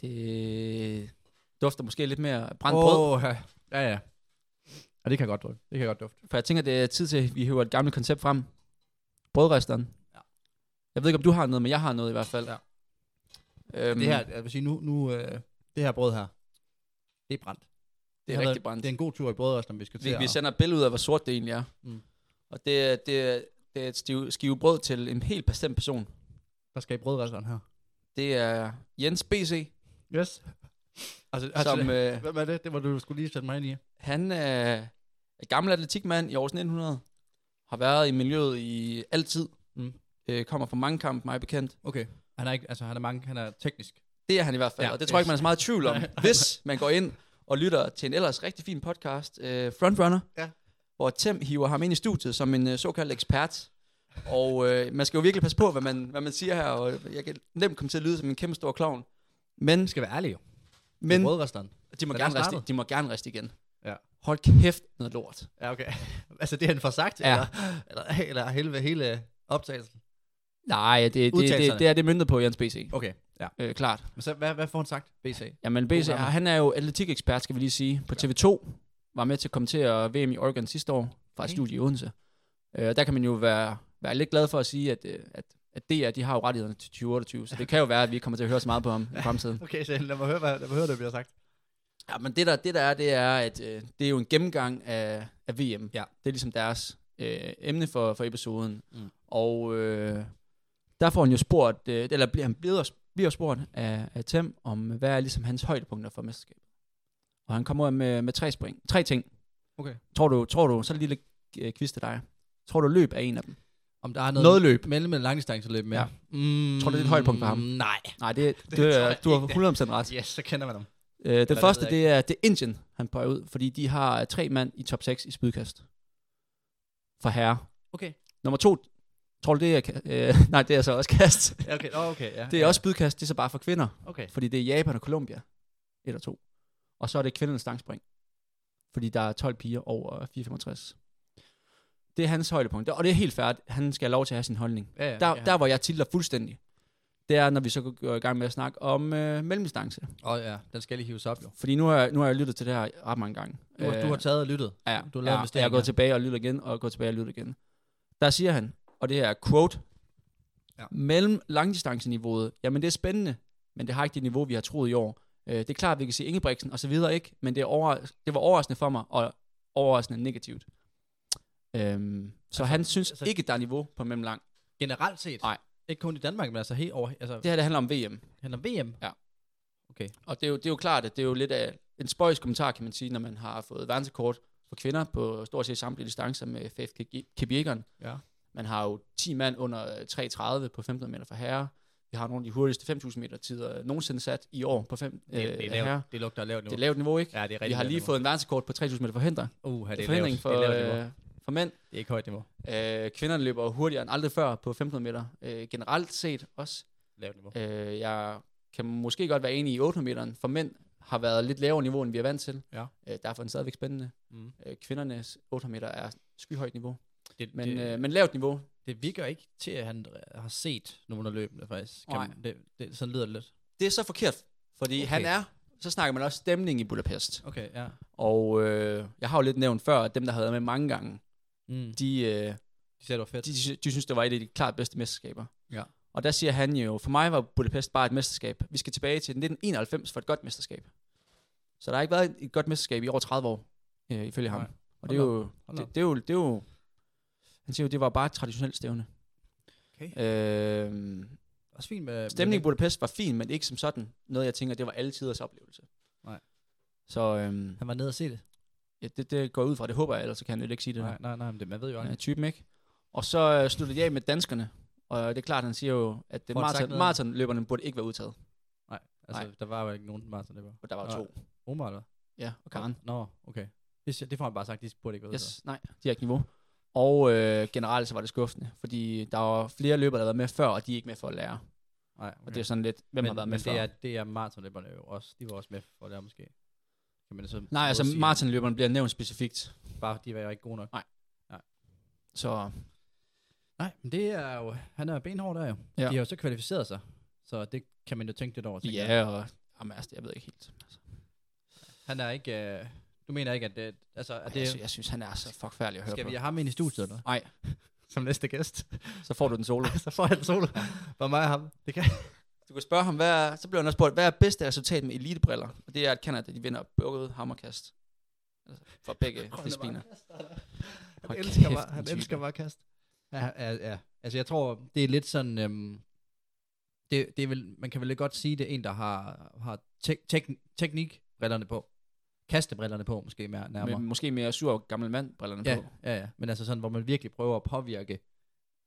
S5: Det dufter måske lidt mere brændt brød.
S4: Åh, oh, ja. ja, ja. Og det kan jeg godt dufte. Det kan jeg godt dufte.
S5: For jeg tænker, det er tid til, at vi hører et gammelt koncept frem. Brødresteren.
S4: Ja.
S5: Jeg ved ikke, om du har noget, men jeg har noget i hvert fald.
S4: Ja.
S5: Øhm,
S4: Mm. Det her, jeg vil sige, nu, nu øh, det her brød her, det er brændt.
S5: det er
S4: har
S5: rigtig
S4: været-
S5: brændt.
S4: Det er en god tur i brødrest, når vi skal til
S5: Vi, vi
S4: at-
S5: sender et billede ud af, hvor sort det egentlig er. Mm.
S4: Mm.
S5: Og det, er- det, er- det er et stiv, skive brød til en helt bestemt person.
S4: der skal i brødresteren her.
S5: Det er Jens BC,
S4: Yes. altså, altså
S5: som øh,
S4: hvad var det? Det var du skulle lige sætte mig ind i.
S5: han er en gammel atletikmand i Aarhus 1900. Har været i miljøet i altid. Mm.
S4: Mm.
S5: Øh, kommer fra mange kamp, mig bekendt.
S4: Okay. Han er ikke, altså han er mange, han er teknisk.
S5: Det er han i hvert fald, ja,
S4: Ja,
S5: og det tror jeg ikke,
S4: yes.
S5: man er så meget i tvivl om.
S4: Nej.
S5: hvis man går ind og lytter til en ellers rigtig fin podcast, øh, Frontrunner,
S4: Ja.
S5: hvor Tim hiver ham ind i studiet som en øh, såkaldt ekspert. Og øh, man skal jo virkelig passe på, hvad man, hvad man siger her, og jeg kan nemt komme til at lyde som en kæmpe stor klovn. Men,
S4: Vi skal være ærlige jo. Men
S5: men
S4: brødresteren.
S5: de, må
S4: hvordan
S5: gerne riste,
S4: startede?
S5: de må gerne riste igen.
S4: Ja.
S5: Hold kæft noget lort.
S4: Ja, okay. altså det han får sagt
S5: Ja.
S4: eller eller, eller hele, hele optagelsen.
S5: Nej, det, det, det,
S4: Udtalelserne.
S5: det er det myndet på Jens BC.
S4: Okay. Ja.
S5: Øh, klart.
S4: Men så hvad, hvad får han sagt? BC.
S5: Jamen, BC,
S4: programmer.
S5: han er jo atletikekspert, skal vi lige sige, på TV2. Var med til at kommentere VM i Oregon sidste år fra et
S4: Okay.
S5: studie i Odense. Øh, der kan man jo være, være lidt glad for at sige, at, øh, at, at DR, de har jo rettighederne til 2028, så det kan jo være, at vi ikke kommer til at høre så meget på ham i fremtiden.
S4: Okay, så lad mig høre, hvad, lad mig høre det bliver sagt.
S5: Ja, men det der, det der er, det er, at øh, det er jo en gennemgang af, af VM.
S4: Ja.
S5: Det er ligesom deres øh, emne for, for episoden.
S4: Mm.
S5: Og øh, der får han jo spurgt, øh, eller bliver han blevet, bliver spurgt af, af Tem om, hvad er ligesom hans højdepunkter for mesterskabet. Og han kommer ud med, med tre, spring, tre ting.
S4: Okay.
S5: Tror du, tror du, så er det lille øh, quiz til dig. Tror du, løb er en af dem?
S4: Om der er noget,
S5: Noget løb.
S4: mellem en langdistanceløb med.
S5: Ja.
S4: Mm,
S5: Tror du, det er et højdepunkt for ham?
S4: Nej.
S5: Nej, det, det,
S4: tror
S5: det
S4: jeg
S5: du har
S4: ikke.
S5: 100% ret.
S4: Yes, så kender man ham.
S5: Øh, den
S4: det
S5: første,
S4: ved jeg
S5: det er, det er Indien, han prøver ud, fordi de har øh, tre mand i top 6 i spydkast. For herre.
S4: Okay.
S5: Nummer to, tror du det er... ka- Øh, nej, det er så også kast.
S4: Ja, Okay, oh, okay, ja.
S5: Det er også spydkast, det er så bare for kvinder,
S4: Okay.
S5: fordi det er Japan og Colombia. Et og to. Og så er det kvindernes stangspring, fordi der er 12 piger over 4,65. Det er hans højdepunkt, og det er helt færdigt. Han skal have lov til at have sin holdning.
S4: Ja, ja,
S5: Der,
S4: ja.
S5: der hvor jeg tilter fuldstændig, det er, når vi så går i gang med at snakke om øh, mellemdistance.
S4: Og ja, den skal lige hives op, jo. Øh,
S5: Fordi nu har, jeg- nu har jeg lyttet til det her ret mange gange. Øh,
S4: Du, har- du har taget og lyttet.
S5: ja,
S4: du har lavet
S5: ja, og jeg
S4: investeringer.
S5: har gået tilbage og lyttet igen, og gået tilbage og lyttet igen. Der siger han, og det her er quote,
S4: Ja.
S5: ja. mellem langdistanceniveauet, jamen det er spændende, men det har ikke det niveau, vi har troet i år. Øh, det er klart, at vi kan se Ingebrigtsen og så videre ikke, men det, er over, det var overraskende for mig, og overraskende negativt. Øhm, så altså, han synes
S4: altså-
S5: altså, ikke, der er niveau på mellemlang.
S4: Generelt set.
S5: Nej.
S4: Ikke kun i Danmark, men altså helt over... Altså,
S5: Det her, det handler om VM.
S4: handler om VM.
S5: Og det er, jo, det er jo klart, at det er jo lidt af en spøjs kommentar, kan man sige, når man har fået verdensrekord for kvinder på stort set samtlige distancer med Faith Kipjegeren.
S4: Ja.
S5: Man har jo 10 mand under 3.30 på 15 meter for herrer. Vi har nogle af de hurtigste 5.000 meter tider nogensinde sat i år på 5
S4: Det, det, er
S5: herrer.
S4: lavt, det lugter af lavt nu.
S5: Øh, Det er lavt niveau, ikke?
S4: Ja, det er rigtig
S5: Vi har
S4: lavt
S5: lige
S4: niveau.
S5: fået en verdenskort på 3.000 meter forhindring.
S4: Uh, det er
S5: Forhindring
S4: lavt. det er lavt niveau.
S5: for, øh, for mænd.
S4: Det er ikke højt niveau.
S5: Øh, kvinderne løber hurtigere end aldrig før på 15 meter. Øh, generelt set også.
S4: Lavt niveau.
S5: Øh, jeg kan måske godt være enig i 800 meteren, for mænd har været lidt lavere niveau, end vi er vant til.
S4: Ja.
S5: Øh, derfor er den stadigvæk spændende.
S4: Mm.
S5: Øh, kvindernes 800 meter er skyhøjt niveau,
S4: Det,
S5: men,
S4: det,
S5: øh, men lavt niveau.
S4: det virker ikke til, at han øh, har set nogen af løbende, faktisk. Kan
S5: Nej.
S4: man, det, det, sådan lyder det lidt.
S5: Det er så forkert, fordi
S4: Okay.
S5: okay. han er, så snakker man også stemning i Budapest.
S4: Okay, ja.
S5: Og øh, jeg har jo lidt nævnt før, at dem, der har været med mange gange,
S4: Mm.
S5: de, øh,
S4: De sagde, det var fedt.
S5: de, de, de synes, det var et af de klart bedste mesterskaber.
S4: Ja.
S5: Og der siger han jo, for mig var Budapest bare et mesterskab. Vi skal tilbage til 1991 for et godt mesterskab. Så der har ikke været et godt mesterskab i over 30 år, øh, ifølge ham.
S4: Nej.
S5: Og det er, jo,
S4: Hold op.
S5: det, det, er jo, det er jo, han siger jo, det var bare et traditionelt stævne.
S4: Okay.
S5: Øh,
S4: Også fint med...
S5: stemningen i
S4: med,
S5: Budapest var fin, men ikke som sådan. Noget, jeg tænker, det var alle tiders oplevelse.
S4: Nej.
S5: Så øhm,
S4: Han var nede og se det.
S5: ja, det, det går jeg ud fra, det håber jeg, ellers så kan han jo ikke sige det.
S4: Nej, nej, nej, men det, man ved jo
S5: Han er
S4: aldrig.
S5: typen, ikke? Og så øh, sluttede jeg af med danskerne. Og det er klart, han siger jo, at det
S4: Får han sagt
S5: maraton,
S4: noget?
S5: maratonløberne burde ikke være udtaget.
S4: Nej, altså, der var jo ikke nogen maraton, det var.
S5: Og der var
S4: Nej.
S5: to.
S4: Omar, eller?
S5: Ja, og Karen.
S4: Nå, okay. Det, siger- det får han bare sagt, de burde ikke være ude.
S5: Yes, nej, de har ikke niveau. Og øh, generelt så var det skuffende, fordi der var flere løbere, der har været med før, og de er ikke med for at lære. Okay.
S4: Nej, okay.
S5: Og det er sådan lidt, hvem
S4: men,
S5: har været med
S4: men
S5: før?
S4: det er, det er maratonløberne jo også. De var også med for det her, måske. Kan man så
S5: Nej, altså
S4: modsige,
S5: maratonløberne bliver nævnt specifikt.
S4: Bare de var jo ikke gode nok.
S5: Så
S4: Nej, men det er jo... Han er benhård der jo.
S5: Ja.
S4: De har jo så kvalificeret sig. Så det kan man jo tænke lidt over. tænker jeg.
S5: ja, og jamen, altså, jeg ved ikke helt. Altså,
S4: Han er ikke... Øh, du mener ikke, at det... Altså, at
S5: det... jeg,
S4: det
S5: synes, jeg synes, han er så fuck færdig at høre
S4: skal
S5: på.
S4: vi have ham ind i studiet, eller? hvad?
S5: Nej,
S4: Som næste gæst.
S5: så får du den solo.
S4: så får han solo. Bare mig og ham. Det kan
S5: Du kan spørge ham, hvad er, så bliver han også spurgt, hvad er bedste resultat med elitebriller? Og det er, at Canada, de vinder bukket hammerkast. Altså, for begge discipliner.
S4: Han
S5: Hold
S4: elsker
S5: kæft,
S4: mig,
S5: en
S4: han
S5: type.
S4: elsker mig at kaste. Ja, ja, ja. Altså jeg tror, det er lidt sådan, øhm, det, det er vel, man kan vel godt sige, det er en, der har, har tek, tek, teknikbrillerne på. Kastebrillerne på, måske mere, nærmere.
S5: Med, måske mere sur gammel mand brillerne
S4: ja,
S5: på.
S4: ja, ja. Men altså sådan, hvor man virkelig prøver at påvirke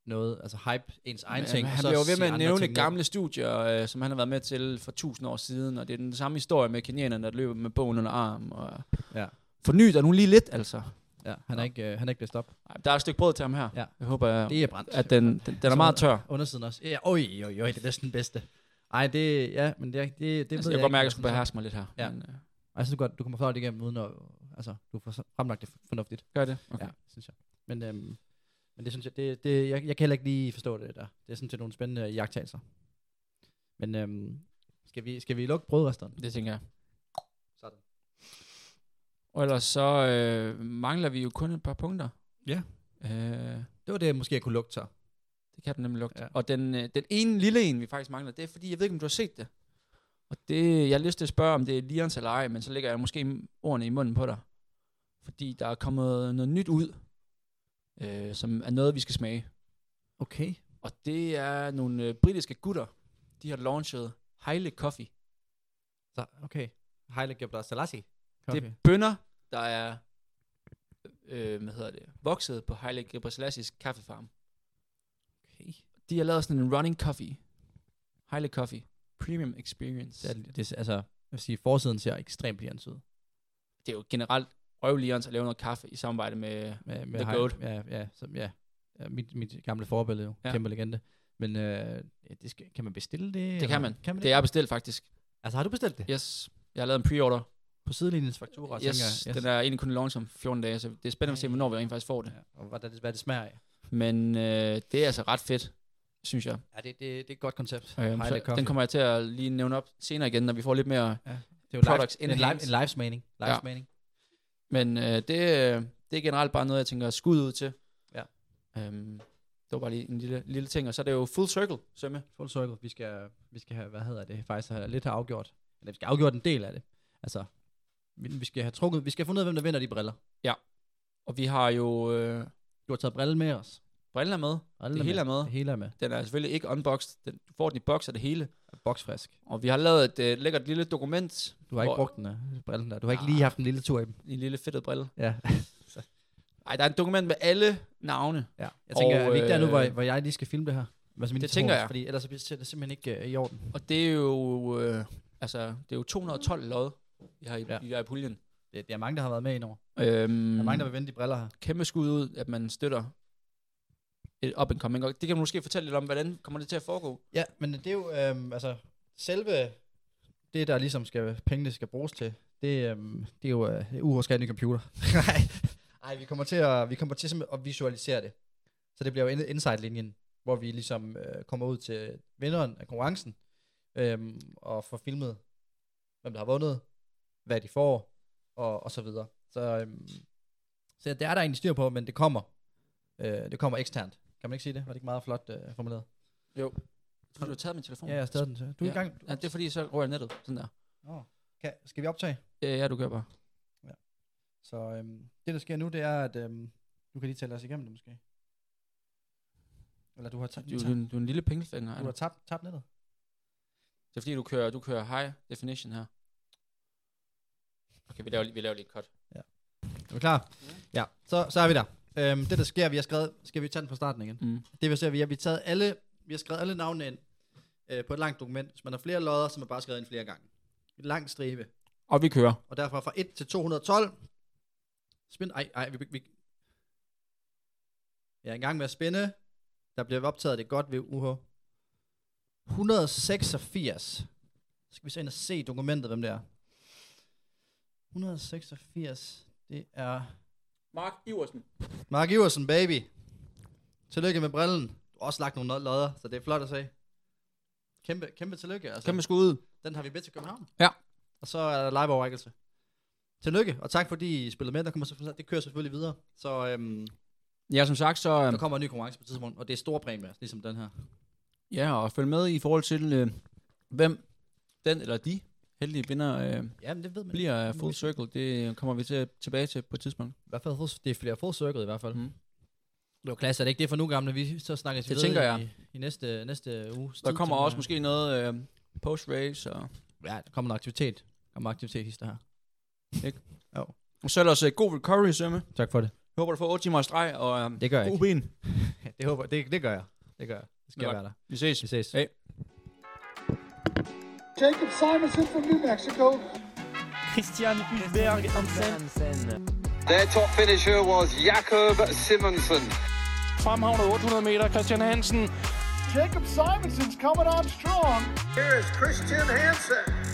S4: noget, altså hype ens egen
S5: Men,
S4: ting.
S5: øh,
S4: og
S5: han
S4: så
S5: blev jo ved
S4: sige
S5: med at
S4: andre
S5: nævne
S4: ting ned.
S5: gamle studier, øh, som han har været med til for tusind år siden, og det er den samme historie med kenianerne, der løber med bogen under arm. Og...
S4: Ja.
S5: Forny dig nu lige lidt, altså.
S4: Ja, han er ikke, øh, han er ikke blæst op.
S5: Ej, der er et stykke brød til ham her.
S4: Ja.
S5: Jeg håber,
S4: Det er brændt.
S5: at øh, den, den, den er
S4: Så-
S5: meget tør. Altså,
S4: Undersiden også. Ja, oj, oj, oj, det er næsten den bedste. Ej, det, ja, men det, er- det, det
S5: Altså,
S4: ved
S5: jeg kan godt
S4: ikke,
S5: mærke, at jeg
S4: om
S5: skulle
S4: sådan-
S5: beherske mig lidt her.
S4: Ja.
S5: Men, øh,
S4: Jeg synes godt, du kommer flot igennem, uden at, altså, du får fremlagt det fornuftigt.
S5: gør det. Okay.
S4: Okay. Ja, synes jeg. Men, øhm, men det synes jeg, det, det, jeg, jeg kan heller ikke lige forstå det der. Det er sådan set nogle spændende jagttagelser. Men øhm, skal, vi, skal vi lukke brødresteren?
S5: Det tænker jeg.
S4: Sådan.
S5: Og ellers så øh, mangler vi jo kun et par punkter.
S4: Ja.
S5: Øh,
S4: Det var det, jeg måske jeg kunne lugte så.
S5: det kan den nemlig lugte.
S4: Ja.
S5: Ja. Og den, øh, den ene lille en, vi faktisk mangler, det er fordi, jeg ved ikke, om du har set det. Og det, jeg har lyst til at spørge, om det er Lions eller ej, men så lægger jeg måske ordene i munden på dig. Fordi der er kommet noget nyt ud, øh, som er noget, vi skal smage.
S4: Okay.
S5: Og det er nogle øh, britiske gutter, de har launchet Heile Coffee.
S4: Så, okay. Haile Gebra Selassie.
S5: Okay. Det er bønder, der er øh, hvad hedder det, vokset på Haile Gebrselassis kaffefarm.
S4: Okay.
S5: De har lavet sådan en running coffee. Haile Coffee. Premium Experience.
S4: Det, er, det, er- altså, jeg vil sige, forsiden ser ekstremt lians ud.
S5: det er jo generelt røvligerens at lave noget kaffe i samarbejde med...
S4: Med, med
S5: The
S4: Haile-
S5: Goat.
S4: Ja, ja, som, ja. ja mit, mit gamle forbillede jo.
S5: Ja.
S4: Ja. Kæmpe legende. Men øh, ja, det skal, kan man bestille det?
S5: Det
S4: eller-
S5: kan man.
S4: Kan man
S5: Det
S4: det?
S5: er bestilt faktisk.
S4: Altså har du bestilt det?
S5: Yes. Jeg har lavet en pre-order.
S4: På sidelinjens faktura,
S5: Yes,
S4: tænker
S5: yes, den er egentlig kun launch om 14 dage, så det er spændende at se, hvornår vi rent faktisk får det.
S4: Ja, og hvordan det, hvad det smager af.
S5: Men øh, det er altså ret fedt, synes jeg.
S4: Ja, det, det, det er et godt koncept.
S5: Øhm,
S4: Haile
S5: så
S4: Coffee.
S5: den kommer jeg til at lige nævne op senere igen, når vi får lidt mere.
S4: det er jo
S5: products
S4: live, en, live,
S5: enhanced.
S4: en live smagning. Live
S5: Ja.
S4: ja. smagning.
S5: Men øh, det, øh, det er generelt bare noget, jeg tænker skud ud til.
S4: Ja.
S5: Øhm, det var bare lige en lille, lille ting. Og så er det jo full circle, Sømme.
S4: Full circle. Vi skal, vi skal have, hvad hedder det, faktisk have lidt have afgjort. Eller vi skal have afgjort en del af det. Altså, vi vi skal have trukket, vi skal have fundet ud af, hvem der vinder de briller.
S5: Og vi har jo øh,
S4: Du har taget brillen med os.
S5: briller med.
S4: Brillen
S5: Det hele er med.
S4: Det hele er med.
S5: Den er selvfølgelig ikke unboxed. Den, du får den i boks og det hele.
S4: Boksfrisk.
S5: Og vi har lavet et øh, lækkert lille dokument.
S4: Du har ikke
S5: Hvor-
S4: brugt den der, brillen der. Du har ikke lige
S5: Ah.
S4: haft en lille tur i dem.
S5: En lille fedtet brille.
S4: Ja.
S5: Ej, der er et dokument med alle navne.
S4: ja. Jeg tænker,
S5: Og,
S4: og, er vi ikke der nu, hvor,
S5: øh,
S4: hvor jeg lige skal filme det her? Altså, min
S5: Det
S4: telefon,
S5: tænker jeg.
S4: Fordi ellers så bliver det simpelthen ikke øh, i orden.
S5: Og det er jo, øh, altså, det er jo 212 lod, vi har i, ja.
S4: Ja.
S5: vi har i puljen.
S4: Det, det er mange, der har været med indover. Mm.
S5: Øhm,
S4: Der er mange, der vil vinde de briller her.
S5: kæmpe skud ud, at man støtter et up and coming. Og det kan du måske fortælle lidt om, hvordan kommer det til at foregå?
S4: Ja, men det er jo, øhm, altså, selve det, der ligesom skal, pengene skal bruges til, det, øhm, det er jo øh, uoverskadende computer. Nej, Ej, vi kommer til at, vi kommer til simpelthen at visualisere det. Så det bliver jo ind- insight-linjen, hvor vi ligesom øh, kommer ud til vinderen af konkurrencen, øhm, og får filmet, hvem der har vundet, hvad de får, og, og så videre. Så, øhm, så det er der egentlig styr på, men det kommer. Øh, det kommer eksternt. Kan man ikke sige det? Var det ikke meget flot øh, formuleret?
S5: Jo. Du har taget min telefon.
S4: Ja, jeg har stadig den til. Du er
S5: Ja.
S4: i gang.
S5: Ja, det er fordi, så rører jeg nettet. Sådan der.
S4: Nå. Kan, skal vi optage?
S5: Ja, ja, du gør bare.
S4: Så øhm, det, der sker nu, det er, at øhm, du kan lige tælle os igennem det måske. Eller du har, ta-
S5: Du,
S4: du,
S5: du,
S4: du,
S5: du er en lille pengefinger. er
S4: du har
S5: du?
S4: tabt, tabt nettet.
S5: Det er fordi, du kører, du kører high definition her. Okay, vi laver, lige- vi laver lige et cut.
S4: Er du klar? Ja. Så, så er vi der. Øhm, det, der sker, vi har skrevet... Skal vi tage den fra starten igen?
S5: Mm.
S4: Det vil sige, at vi har, vi har taget alle, vi har skrevet alle navnene ind øh, på et langt dokument. Hvis man har flere lodder, så har man bare skrevet ind flere gange. Et langt stribe.
S5: Og vi kører.
S4: Og derfra fra 1 til 212. Spind. Ej, ej, vi, vi... Jeg er i gang med at spænde. Der bliver optaget det godt ved UH. 186. Så skal vi så ind og se dokumentet, hvem det er. 186, det er
S5: Mark Iversen.
S4: Mark Iversen, baby. Tillykke med brillen. Du har også lagt nogle lodder, så det er flot at se. Kæmpe, kæmpe tillykke. Altså.
S5: Kæmpe skud.
S4: Den har vi med til København.
S5: Ja.
S4: Og så er der live overrækkelse. Tillykke, og tak fordi I spillede med. Der kommer selvfølgelig, det kører selvfølgelig videre. Så øhm,
S5: Ja, som sagt, så... øhm,
S4: der kommer en ny konkurrence på et tidspunkt, og det er store præmier, ligesom den her.
S5: Ja, og følg med i forhold til, øh, hvem den eller de heldige vinder øh,
S4: Jamen, det ved man
S5: bliver af Full Circle. Det kommer vi til, tilbage til på et tidspunkt.
S4: I hvert fald, full- det bliver full circle i hvert fald.
S5: Mm.
S4: Mm. Det var klasse, er det ikke det for nu gamle? Vi så snakkes vi
S5: Det
S4: ved
S5: tænker
S4: i,
S5: jeg.
S4: i, næste, næste uge.
S5: Der kommer også måske noget øh, post-race. Og,
S4: Ja, der kommer noget aktivitet. Der kommer aktivitet hister her.
S5: og så ellers øh, god recovery, Sømme. Jeg
S4: Tak for det.
S5: håber, du får 8 timer i streg, og øh,
S4: Det gør jeg
S5: god
S4: ikke.
S5: ben.
S4: Det, håber, det, det gør jeg. Det gør jeg. Det skal
S5: Nå,
S4: jeg være der.
S5: Vi ses.
S4: Vi ses.
S5: Hey.
S1: Jacob Simonson from New Mexico.
S2: Christian Hulberg Hansen
S3: Their top finisher was Jakob Simonsen.
S2: fremhavner 800 meter, Christian Hansen
S1: Jacob Simonson's coming on strong.
S6: Here is Christian Hansen.